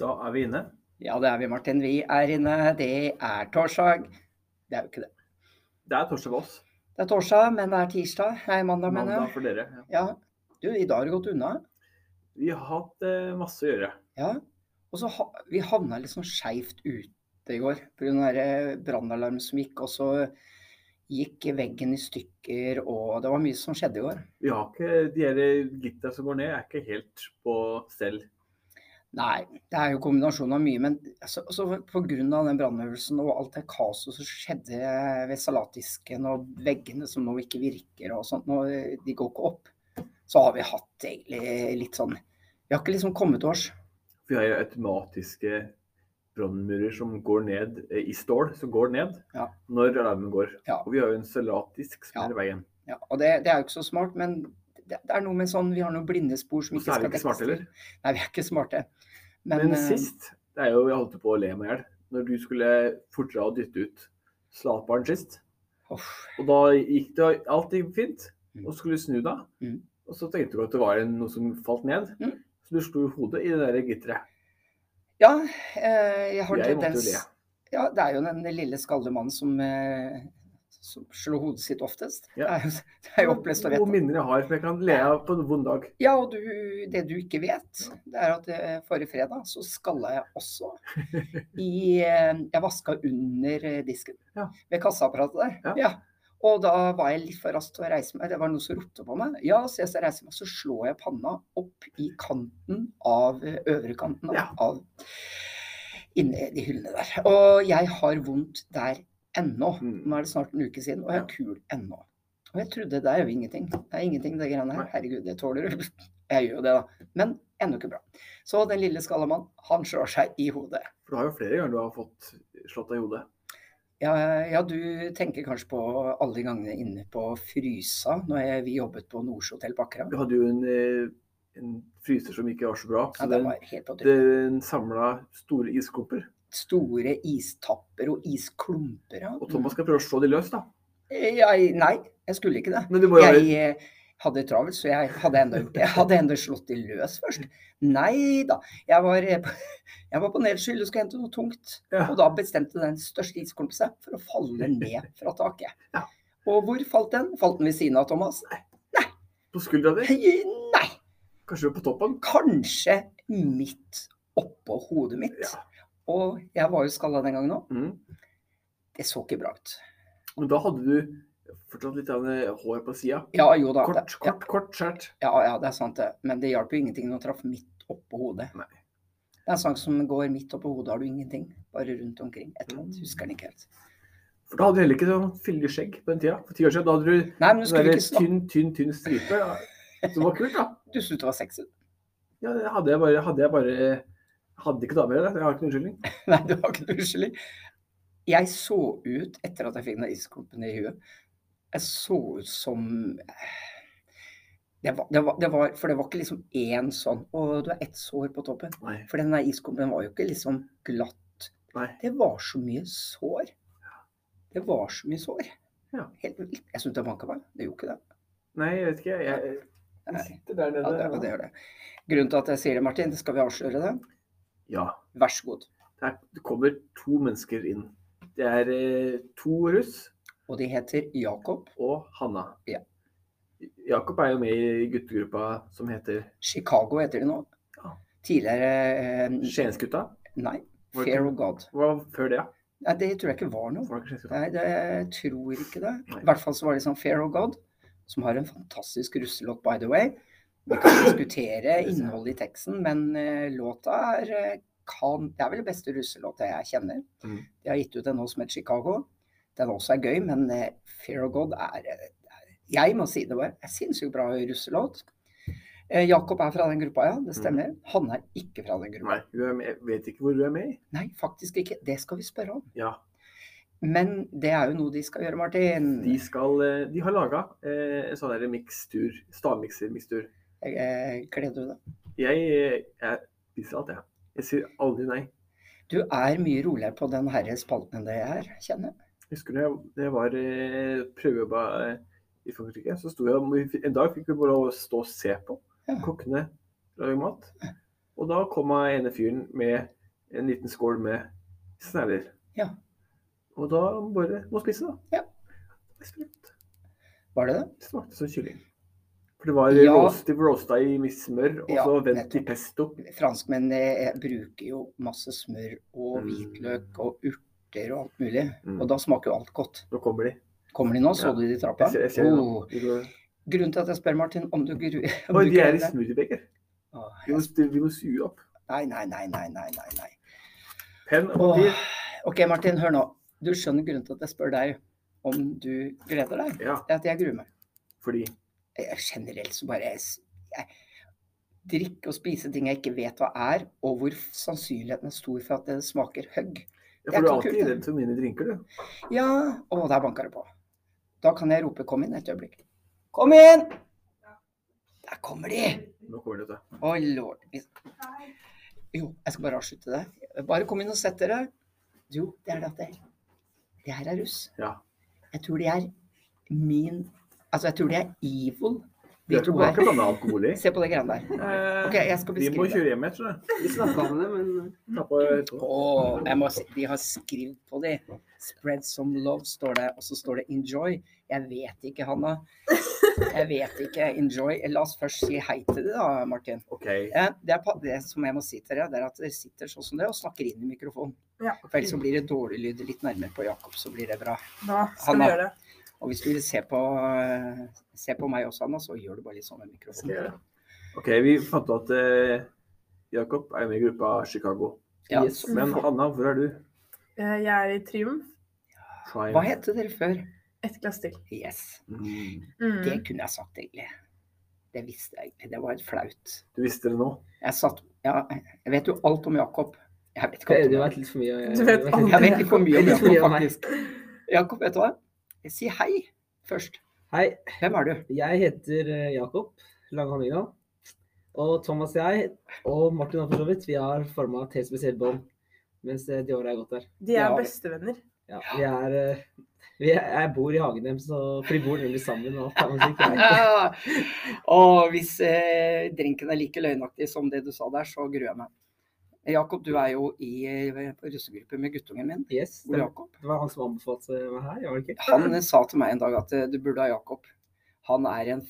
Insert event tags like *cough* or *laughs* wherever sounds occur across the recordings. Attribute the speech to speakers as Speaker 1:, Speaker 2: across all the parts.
Speaker 1: da er vi inne.
Speaker 2: Ja, det er vi, Martin. Vi er inne. Det er torsdag. Det er jo ikke det.
Speaker 1: Det er torsdag for oss.
Speaker 2: Det er torsdag, men det er tirsdag. Nei, mandag, mener
Speaker 1: Mandag
Speaker 2: jeg.
Speaker 1: for dere. Ja.
Speaker 2: Ja. Du, i dag har det gått unna.
Speaker 1: Vi har hatt eh, masse å gjøre.
Speaker 2: Ja. Og så ha, vi havna litt sånn skeivt ute i går pga. brannalarm eh, som gikk, og så gikk veggen i stykker, og det var mye som skjedde i går.
Speaker 1: Vi har ikke, De her gitta som går ned, er ikke helt på stell.
Speaker 2: Nei, det er jo kombinasjonen av mye. Men altså, altså pga. den brannøvelsen og alt det kaoset som skjedde ved salatdisken og veggene som nå ikke virker og sånt, nå, de går ikke opp, så har vi hatt egentlig litt sånn Vi har ikke liksom kommet til oss.
Speaker 1: Vi har jo automatiske brannmurer som går ned eh, i stål, som går ned
Speaker 2: Ja.
Speaker 1: når alarmen går.
Speaker 2: Ja.
Speaker 1: Og vi har jo en salatisk som
Speaker 2: Ja.
Speaker 1: er i veien.
Speaker 2: Ja, og det, det er jo ikke så smart, men det, det er noe med sånn Vi har noen blinde spor som
Speaker 1: Og
Speaker 2: ikke
Speaker 1: så er
Speaker 2: skal
Speaker 1: vi ikke
Speaker 2: dekkes
Speaker 1: smarte
Speaker 2: til.
Speaker 1: heller.
Speaker 2: Nei, vi er ikke smarte.
Speaker 1: Men,
Speaker 2: eh,
Speaker 1: sist, det er jo, jeg holdt på å le meg i hjel, når du skulle fortere å dytte ut slatbaren sist.
Speaker 2: uff,
Speaker 1: Og da gikk det alt gikk fint,
Speaker 2: Mm.
Speaker 1: og skulle snu deg.
Speaker 2: Mm.
Speaker 1: Og så tenkte du at det var en- noe som falt ned.
Speaker 2: Mm.
Speaker 1: Så du slo hodet i det der gitteret.
Speaker 2: ja, eh, jeg har
Speaker 1: Jeg måtte jo
Speaker 2: tendens
Speaker 1: le.
Speaker 2: Ja, det er jo den lille skalde mannen som, eh, som slår hodet sitt oftest. Det,
Speaker 1: Ja.
Speaker 2: er jo, det er jo opplest å vite.
Speaker 1: Gode minner jeg har, for jeg kan le av på en vond dag.
Speaker 2: Ja, og du, det du ikke vet, det er at eh, forrige fredag så skalla jeg også
Speaker 1: *laughs*
Speaker 2: i eh, Jeg vaska under eh, disken
Speaker 1: Ja.
Speaker 2: ved kassaapparatet der.
Speaker 1: Ja.
Speaker 2: Og da var jeg litt for rask til å reise meg. Det var noen som ropte på meg. Ja, så jeg skal reise meg, så slår jeg panna opp i kanten av eh, øvre kanten av,
Speaker 1: Ja.
Speaker 2: av inni de hyllene der. Og jeg har vondt der ennå.
Speaker 1: Mm.
Speaker 2: Nå er det snart en uke siden, og jeg er kul ennå. Og jeg trodde det er jo ingenting. Det er ingenting, det greiene her.
Speaker 1: Nei.
Speaker 2: Herregud, det tåler du. *laughs* Jeg gjør jo det, da. Men ennå ikke bra. Så den lille skallamannen, han slår seg i hodet.
Speaker 1: For du har jo flere ganger du har fått slått deg i hodet.
Speaker 2: Ja, ja, du tenker kanskje på alle de gangene inne på Frysa, når jeg, vi jobbet på Nordsjøhotell på Akerøy.
Speaker 1: Du hadde jo en, eh, en fryser som ikke var så bra.
Speaker 2: Ja,
Speaker 1: Så
Speaker 2: det
Speaker 1: den,
Speaker 2: var helt på trynet.
Speaker 1: den samla store isklumper.
Speaker 2: Store istapper og isklumper. ja.
Speaker 1: Og Thomas skal prøve å slå de løs, da.
Speaker 2: Jeg, nei, jeg skulle ikke det.
Speaker 1: Men du må jo
Speaker 2: Jeg eh, hadde travelt, så jeg hadde enda gjort det. Jeg hadde enda slått de løs først. Nei da. Jeg var, eh, *laughs* på- jeg var på nedskyld og skulle hente noe tungt.
Speaker 1: Ja.
Speaker 2: Og da bestemte den største isklumpen seg for å falle ned fra taket.
Speaker 1: *laughs* Ja.
Speaker 2: Og hvor falt den? Falt den ved siden av Thomas?
Speaker 1: På skuldra di.
Speaker 2: Nei!
Speaker 1: Kanskje på toppen.
Speaker 2: Kanskje midt oppå hodet mitt.
Speaker 1: Ja.
Speaker 2: Og jeg var jo skalla den gangen òg.
Speaker 1: Mm.
Speaker 2: Det så ikke bra ut.
Speaker 1: Men da hadde du fortsatt litt av det hår på sida.
Speaker 2: Ja, jo da.
Speaker 1: Kort,
Speaker 2: det,
Speaker 1: kort, kort skjært.
Speaker 2: Ja, ja, det er sant det. Men det hjalp jo ingenting når hun traff midt oppå hodet.
Speaker 1: Nei.
Speaker 2: Det er en sang som går midt oppå hodet, har du ingenting. Bare rundt omkring. Et eller annet.
Speaker 1: Mm.
Speaker 2: Husker den ikke helt.
Speaker 1: For da hadde du heller ikke sånn fyldig skjegg på den tida. For ti år siden da hadde du
Speaker 2: Nei, men du
Speaker 1: sånn
Speaker 2: skulle
Speaker 1: der
Speaker 2: ikke snakke
Speaker 1: tynn, tynn, tynn stripe. Ja. Som var kult, da.
Speaker 2: Du syntes det var sexy? *laughs*
Speaker 1: Ja, det hadde jeg bare Hadde jeg bare Hadde ikke damer i det. Jeg har ikke noen unnskyldning.
Speaker 2: Nei, det var ikke noe uskyldig. Jeg så ut, etter at jeg fikk den isklumpen i huet, jeg så ut som det var, det, var, det var For det var ikke liksom én sånn Å, du har ett sår på toppen.
Speaker 1: Nei.
Speaker 2: For den der isklumpen var jo ikke liksom glatt.
Speaker 1: Nei.
Speaker 2: Det var så mye sår. Det var så mye sår.
Speaker 1: Ja.
Speaker 2: Helt vilt. Jeg syntes det banka meg. Det gjorde ikke det.
Speaker 1: Nei, jeg vet ikke. Jeg, jeg
Speaker 2: Nei.
Speaker 1: sitter der
Speaker 2: Ja, det,
Speaker 1: nede.
Speaker 2: det gjør det. Grunnen til at jeg sier det, Martin, det skal vi avsløre det.
Speaker 1: Ja.
Speaker 2: Vær så god.
Speaker 1: Der kommer to mennesker inn. Det er eh, to russ
Speaker 2: Og de heter Jakob
Speaker 1: og Hanna.
Speaker 2: Ja.
Speaker 1: Jakob er jo med i guttegruppa som heter
Speaker 2: Chicago heter de nå.
Speaker 1: Ja.
Speaker 2: Tidligere eh,
Speaker 1: Skiensgutta.
Speaker 2: Nei.
Speaker 1: Var det
Speaker 2: Fair
Speaker 1: ikke-
Speaker 2: of God.
Speaker 1: Hva var før det, da?
Speaker 2: Nei, det tror jeg ikke var noe.
Speaker 1: Var det ikke Skiensgutta?
Speaker 2: Nei, det, jeg tror ikke det.
Speaker 1: Nei.
Speaker 2: I hvert fall så var det sånn Fair of God, som har en fantastisk russelåt, by the way. Vi kan diskutere innholdet i teksten, men eh, låta er eh, kan, Det er vel den beste russelåta jeg kjenner.
Speaker 1: Mhm.
Speaker 2: De har gitt ut en nå som heter Chicago. Den også er gøy, men eh, Fair of God er, eh, er Jeg må si det var en sinnssykt bra russelåt. Eh, Jakob er fra den gruppa, ja. Det stemmer. Han er ikke fra den gruppa.
Speaker 1: Mm. Nei, hun er med. jeg vet ikke hvor hun er med i.
Speaker 2: Nei, faktisk ikke. Det skal vi spørre om.
Speaker 1: Ja.
Speaker 2: Men det er jo noe de skal gjøre, Martin.
Speaker 1: De, skal, eh, de har laga eh, en sånn der mikstur, stavmikser-mikstur.
Speaker 2: Eh, Gleder du deg?
Speaker 1: Jeg, eh, jeg spiser alt, jeg. Jeg sier aldri nei.
Speaker 2: Du er mye roligere på den herre spalten enn det jeg er, kjenner jeg.
Speaker 1: Jeg husker da jeg, da jeg var eh, prøvejobba eh, i Frankrike, så sto jeg En dag fikk vi bare å stå og se på
Speaker 2: Ja.
Speaker 1: kokkene lage mat. Og da kom han ene fyren med en liten skål med snegler.
Speaker 2: Ja.
Speaker 1: Og da bare må spise, da.
Speaker 2: Ja.
Speaker 1: Det sprøtt.
Speaker 2: Var det det?
Speaker 1: Det smakte som kylling. For det var
Speaker 2: Ja.
Speaker 1: roast, det var roasta i mitt smør, og
Speaker 2: Ja,
Speaker 1: så vent i
Speaker 2: nettopp.
Speaker 1: pesto.
Speaker 2: Franskmenn eh, bruker jo masse smør og
Speaker 1: Mm.
Speaker 2: hvitløk og urter og alt mulig.
Speaker 1: Mm.
Speaker 2: Og da smaker jo alt godt.
Speaker 1: Nå
Speaker 2: *laughs*
Speaker 1: kommer de.
Speaker 2: Kommer de nå? Så
Speaker 1: Ja.
Speaker 2: du de i trappa?
Speaker 1: Jeg ser, jeg ser det nå.
Speaker 2: Oh.
Speaker 1: De går-
Speaker 2: Grunnen til at jeg spør, Martin, om du gru... *laughs* om
Speaker 1: Oi,
Speaker 2: du
Speaker 1: de er
Speaker 2: gruer
Speaker 1: i
Speaker 2: deg-
Speaker 1: smoothiebeger.
Speaker 2: Åh,
Speaker 1: Vi må,
Speaker 2: jeg-
Speaker 1: vi må sue opp.
Speaker 2: Nei, nei, nei, nei, nei, nei. nei.
Speaker 1: Penn og
Speaker 2: Åh.
Speaker 1: papir.
Speaker 2: OK, Martin, hør nå. Du skjønner grunnen til at jeg spør deg om du gleder deg?
Speaker 1: Ja,
Speaker 2: Det er at jeg gruer meg.
Speaker 1: fordi
Speaker 2: Jeg, Eh, generelt så bare jeg, s- jeg, Drikke og spise ting jeg ikke vet hva er, og hvor f- sannsynligheten er stor for at det smaker høgg.
Speaker 1: ja,
Speaker 2: Det er
Speaker 1: for du er
Speaker 2: ikke kult,
Speaker 1: alltid
Speaker 2: det.
Speaker 1: redd for mine drinker, du.
Speaker 2: Ja Å, der banker det på. Da kan jeg rope 'kom inn' et øyeblikk. Kom inn! Der kommer de!
Speaker 1: Nå kommer det, vet du.
Speaker 2: Å, lord. Vi- Jo, jeg skal bare avslutte det. Bare kom inn og sett dere. Jo, det er det at det Det her er russ.
Speaker 1: Ja.
Speaker 2: Jeg tror de er min Altså, jeg tror de er evil,
Speaker 1: Du
Speaker 2: de
Speaker 1: er
Speaker 2: to
Speaker 1: ikke
Speaker 2: her.
Speaker 1: blant annet alkohol
Speaker 2: *laughs*
Speaker 1: i.
Speaker 2: Se på det greiene der.
Speaker 1: Eh,
Speaker 2: OK, jeg skal
Speaker 1: vi må
Speaker 2: beskrive.
Speaker 1: kjøre hjem, jeg tror jeg.
Speaker 3: Vi snakka om det, men
Speaker 1: Tappa etterpå.
Speaker 2: Åh, jeg må si, de har skrevet på de. 'Spread some love', står det. Og så står det 'enjoy'. Jeg vet ikke, Hanna. Jeg vet ikke. Enjoy. La oss først si hei til det, da, Martin.
Speaker 1: OK.
Speaker 2: Eh, Det, er, pa- det som jeg må si til dere, det er at dere sitter sånn som det og snakker inn i mikrofonen.
Speaker 4: Ja.
Speaker 2: For ellers så blir det dårlig lyd litt nærmere på Jakob, så blir det bra.
Speaker 4: Da skal
Speaker 2: Hanna.
Speaker 4: vi gjøre det.
Speaker 2: Og hvis du vil se på, eh, se på meg også, Hanna, så gjør du bare litt sånn med
Speaker 1: Skal jeg
Speaker 2: mikrofonen.
Speaker 1: gjøre det? OK, vi fant ut at eh, Jakob er med i gruppa Chicago.
Speaker 2: Ja,
Speaker 3: Yes.
Speaker 2: så-
Speaker 1: Men Hanna, hvor er du?
Speaker 4: Eh, Jeg er i Triumf.
Speaker 1: Triumph.
Speaker 2: Hva het dere før?
Speaker 4: Ett glass til.
Speaker 2: Yes.
Speaker 1: Mm.
Speaker 4: Mm.
Speaker 2: Det kunne jeg sagt, egentlig. Det visste jeg egentlig. Det var flaut.
Speaker 1: Du visste det nå?
Speaker 2: Jeg satt Ja, jeg vet jo alt om Jakob. Jeg vet ikke alt om
Speaker 3: du
Speaker 2: Jakob.
Speaker 3: vet litt for mye.
Speaker 4: Du vet alt.
Speaker 2: Jeg vet ikke for mye om
Speaker 3: Litt for mye
Speaker 2: Jakob,
Speaker 3: om meg.
Speaker 2: faktisk. Jakob, vet du hva? Si hei først.
Speaker 3: Hei,
Speaker 2: Hvem er du?
Speaker 3: jeg heter eh, Jakob Langhamminga. Og Thomas og jeg, og Martin og for så vidt, vi har forma et helt spesielt bånd mens eh, de åra jeg har gått der.
Speaker 4: De er
Speaker 2: Ja.
Speaker 4: bestevenner.
Speaker 3: Ja, vi er, eh, vi er, jeg bor i hagen deres, så- for de bor nemlig sammen. og alt er musikk.
Speaker 4: *laughs*
Speaker 2: Ah, og hvis eh, drinken er like løgnaktig som det du sa der, så gruer jeg meg. Jakob, du er jo i eh, på russegruppe med guttungen min.
Speaker 3: Yes,
Speaker 2: Ole
Speaker 3: det,
Speaker 2: Jakob.
Speaker 3: det var han som anbefalte meg her, gjør det ikke?
Speaker 2: Han eh, sa til meg en dag at eh, du burde ha Jakob. Han er en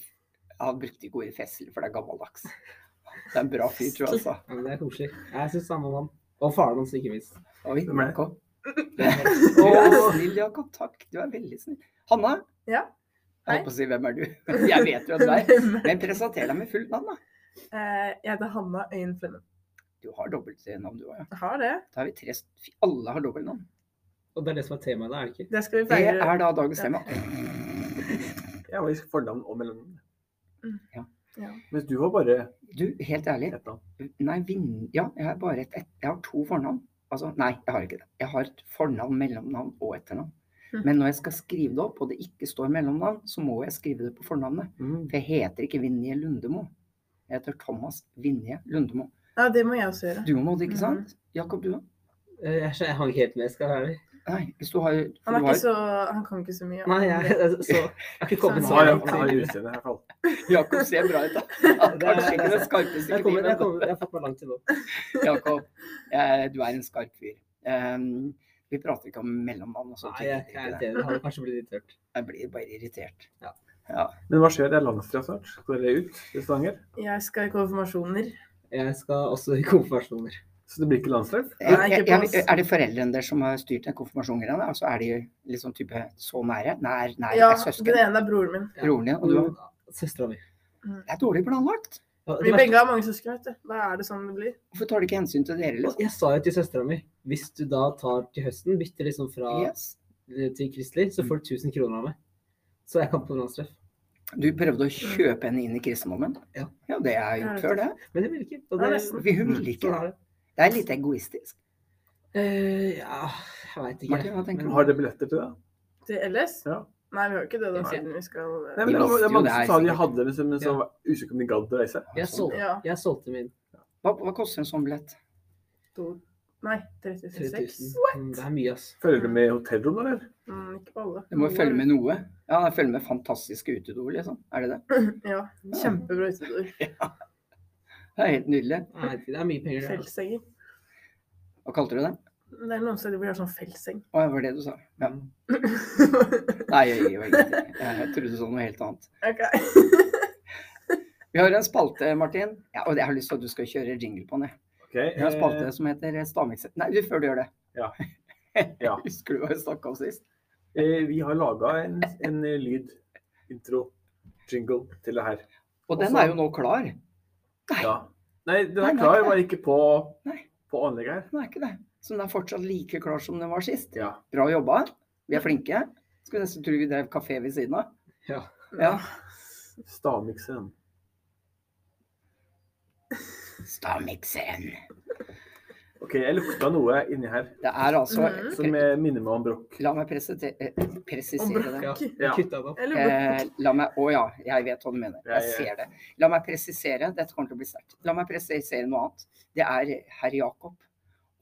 Speaker 2: Han brukte ikke ordet fessel, for det er gammeldags. Det er en bra fyr, tror jeg, altså.
Speaker 3: Ja, men det er koselig. Jeg syns samme om han. Og faren hans, ikke minst.
Speaker 2: Oi,
Speaker 1: Hvem er det?
Speaker 4: *laughs*
Speaker 2: Jakob.
Speaker 3: Det
Speaker 2: Du er snill, Jakob. Takk. Du er veldig snill. Hanna,
Speaker 4: Ja.
Speaker 2: jeg
Speaker 4: Hei.
Speaker 2: holdt på å si hvem er du? *laughs* Jeg vet jo hvem du
Speaker 4: *laughs*
Speaker 2: er. Men presenter deg med fullt navn, da.
Speaker 4: Eh, Jeg heter Hanna Øyen Flemmen.
Speaker 2: Du har dobbeltnavn, du òg, ja.
Speaker 4: Jeg Har det.
Speaker 2: Da har vi tre fy, Alle har dobbeltnavn.
Speaker 3: Og det er det som er temaet, da, er det ikke?
Speaker 4: Det skal vi
Speaker 2: Det
Speaker 4: feire.
Speaker 2: er da dagens tema.
Speaker 1: Jeg var i fornavn og mellomnavn.
Speaker 2: Ja.
Speaker 4: Ja.
Speaker 1: Mens du var bare
Speaker 2: Du, helt ærlig.
Speaker 1: ett navn.
Speaker 2: Nei, Vin... Ja, jeg har bare et, et Jeg har to fornavn. Altså, nei, jeg har ikke det. Jeg har et fornavn, mellomnavn og etternavn.
Speaker 3: Hm.
Speaker 4: Mhm.
Speaker 2: Men når jeg skal skrive det opp, og det ikke står mellomnavn, så må jeg skrive det på fornavnet.
Speaker 1: Mm.
Speaker 2: For jeg heter ikke Vinje Lundemo. Jeg heter Thomas Vinje Lundemo.
Speaker 4: Ja, det må jeg også gjøre.
Speaker 2: Du må det, ikke sant?
Speaker 3: Hm.
Speaker 2: Jakob, du da?
Speaker 3: Eh, Jeg, jeg hang ikke helt med, skal jeg være ærlig.
Speaker 2: Nei, hvis du har, for
Speaker 4: Han er
Speaker 2: du har
Speaker 4: ikke så Han kan ikke så mye.
Speaker 3: Nei, jeg, jeg- så, jeg
Speaker 4: *laughs*
Speaker 3: har ikke kommet så
Speaker 1: Han har,
Speaker 3: langt.
Speaker 1: han har utseende i hvert fall.
Speaker 2: *laughs* Jakob ser bra ut,
Speaker 3: *laughs*
Speaker 2: da. Han
Speaker 3: Det er-
Speaker 2: Kanskje ikke den skarpeste
Speaker 3: Jeg, kommer, jeg,
Speaker 2: kniven.
Speaker 3: kommer, jeg har fått meg langt til nå.
Speaker 2: Jakob, eh, du er en skarp fyr. Em, vi prater ikke om mellommann og sånt.
Speaker 3: Nei, jeg, jeg er litt enig. Det hadde kanskje blitt litt tørt.
Speaker 2: Jeg blir bare irritert.
Speaker 3: Ja.
Speaker 2: Ja.
Speaker 1: Men hva skjer? Det er langstrakt snart. Skal dere ut til Stavanger?
Speaker 4: Jeg skal i konfirmasjoner.
Speaker 3: Jeg skal også i konfirmasjoner.
Speaker 1: Så det blir ikke landstreff?
Speaker 4: Nei,
Speaker 2: Jeg,
Speaker 4: ikke
Speaker 2: jeg,
Speaker 4: pass.
Speaker 2: jeg, er det foreldrene deres som har styrt den konfirmasjonsgreia? da? Altså, er de liksom type så nære? Nær, nær,
Speaker 4: Ja,
Speaker 2: er
Speaker 4: den
Speaker 2: søsken?
Speaker 4: ene er broren min.
Speaker 3: Ja.
Speaker 2: Broren din? Og du,
Speaker 3: Søstera mi.
Speaker 2: det er dårlig planlagt.
Speaker 3: Og det
Speaker 4: Vi
Speaker 3: verste-
Speaker 4: begge har mange søsken, vet du. Da er det sånn det blir.
Speaker 2: Hvorfor tar de ikke hensyn til dere?
Speaker 3: og
Speaker 2: Liksom?
Speaker 3: Jeg sa jo til søstera mi hvis du da tar til høsten, bytter liksom fra
Speaker 2: Yes.
Speaker 3: til kristelig,
Speaker 2: Mm.
Speaker 3: så får du 1000 kroner av meg. Så jeg kan på landstreff.
Speaker 2: Du prøvde å kjøpe henne inn i kristendommen?
Speaker 3: Ja.
Speaker 2: ja, det er gjort før, det.
Speaker 3: Men det vil ikke. Og
Speaker 4: Ja,
Speaker 3: det,
Speaker 4: nesten.
Speaker 2: Vi- Hun ville ikke.
Speaker 3: sånn er det.
Speaker 2: Det er litt egoistisk.
Speaker 3: Eh, ja, jeg veit ikke.
Speaker 2: Martin, hva tenker
Speaker 1: Har dere billetter til det?
Speaker 4: Til LS?
Speaker 1: Ja.
Speaker 4: Nei, vi har jo ikke det, da,
Speaker 2: Nei.
Speaker 4: siden vi skal
Speaker 1: Nei,
Speaker 2: De
Speaker 1: men det, var, det
Speaker 2: visste
Speaker 1: er
Speaker 2: jo
Speaker 1: mange
Speaker 2: det her,
Speaker 1: som sa de
Speaker 2: sikkert.
Speaker 1: hadde det, men som
Speaker 3: Ja.
Speaker 1: var usikre på om de gadd å reise.
Speaker 3: Jeg
Speaker 2: altså.
Speaker 3: solgte,
Speaker 4: Ja.
Speaker 3: jeg solgte min.
Speaker 2: Hva, hva koster en sånn billett?
Speaker 4: To... Nei,
Speaker 3: 3000.
Speaker 4: 36.
Speaker 3: Mm, Det er mye, ass.
Speaker 1: Følger du med i hotellrom, eller?
Speaker 4: Mm, ikke på alle.
Speaker 2: Du må jo følge med noe. Ja, følge med fantastiske utedoer, liksom. Er det det?
Speaker 4: Ja. Kjempebra utedoer.
Speaker 2: Det er helt nydelig.
Speaker 3: Nei, det er mye penger, det.
Speaker 4: Feltsenger.
Speaker 2: Hva kalte du det?
Speaker 4: Det er noen steder hvor de har sånn feltseng.
Speaker 2: Å, det var det du sa. Ja.
Speaker 4: ok. *laughs*
Speaker 2: Nei, jeg gjør ingenting. Jeg trodde du sa noe helt annet. Vi har en spalte, Martin. Ja, og jeg har lyst til at du skal kjøre jingle på den. jeg.
Speaker 1: OK.
Speaker 2: Vi har en spalte
Speaker 1: eh,
Speaker 2: som heter Stavmikset. Nei, du, før du gjør det. *laughs*
Speaker 1: Ja. Ja.
Speaker 2: Husker du hva vi snakka om sist?
Speaker 1: eh, vi har laga en, en eh, lyd, intro, jingle til det her.
Speaker 2: Og den
Speaker 1: Også-
Speaker 2: er jo nå klar. Nei,
Speaker 1: Ja. Nei, den
Speaker 2: Nei,
Speaker 1: er
Speaker 2: nei,
Speaker 1: klar,
Speaker 2: nei.
Speaker 1: var ikke på,
Speaker 2: Nei.
Speaker 1: på anlegget her.
Speaker 2: den er ikke det. Så den er fortsatt like klar som den var sist.
Speaker 1: Ja.
Speaker 2: Bra jobba. Vi er flinke. Skulle nesten tro vi drev kafé ved siden av.
Speaker 3: Ja.
Speaker 2: Ja.
Speaker 1: Stavmikseren.
Speaker 2: Stavmikseren.
Speaker 1: OK, jeg lukta noe inni her
Speaker 2: Det er altså
Speaker 4: Mhm.
Speaker 1: som eh, minner meg om brokk.
Speaker 2: La meg presite- eh,
Speaker 4: Om
Speaker 2: presisere det.
Speaker 3: Ja.
Speaker 4: brokk.
Speaker 1: Ja.
Speaker 3: Kutta det opp.
Speaker 4: Eller brokk.
Speaker 2: Eh, la meg, å ja, jeg vet hva du mener.
Speaker 1: Ja,
Speaker 2: Jeg
Speaker 1: ja.
Speaker 2: ser det. La meg presisere, dette kommer til å bli sterkt. La meg presisere noe annet. Det er herr Jakob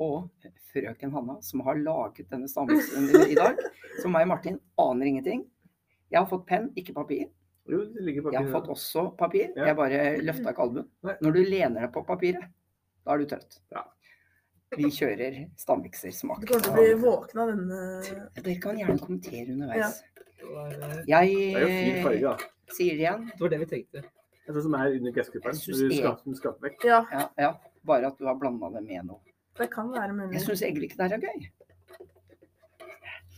Speaker 2: og frøken Hanna som har laget denne stammelsen i
Speaker 1: *laughs*
Speaker 2: dag. Så meg og Martin aner ingenting. Jeg har fått penn, ikke papir.
Speaker 1: Jo, det ligger
Speaker 2: Jeg har fått
Speaker 1: papiret.
Speaker 2: også papir.
Speaker 1: Ja.
Speaker 2: Jeg bare løfta ikke albuen.
Speaker 1: Nei.
Speaker 2: Når du lener deg på papiret, da er du trøtt.
Speaker 1: Ja.
Speaker 2: Vi kjører
Speaker 4: Du
Speaker 2: stammiksersmak.
Speaker 4: kommer til å bli våken av denne
Speaker 2: Dere kan gjerne kommentere underveis.
Speaker 3: Det var, eh,
Speaker 1: Det er jo fin
Speaker 2: Jeg
Speaker 1: farge, da.
Speaker 2: sier det igjen.
Speaker 3: det var det vi tenkte.
Speaker 1: Det er sånn som er under gressklipperen.
Speaker 2: Jeg synes
Speaker 1: Når du
Speaker 2: det-
Speaker 1: skraper den skraper
Speaker 2: *clears throat*
Speaker 1: vekk.
Speaker 4: Ja,
Speaker 2: Ja, ja. Bare at du har blanda det med noe.
Speaker 4: det kan være mulig.
Speaker 2: Jeg syns egentlig ikke det her er gøy.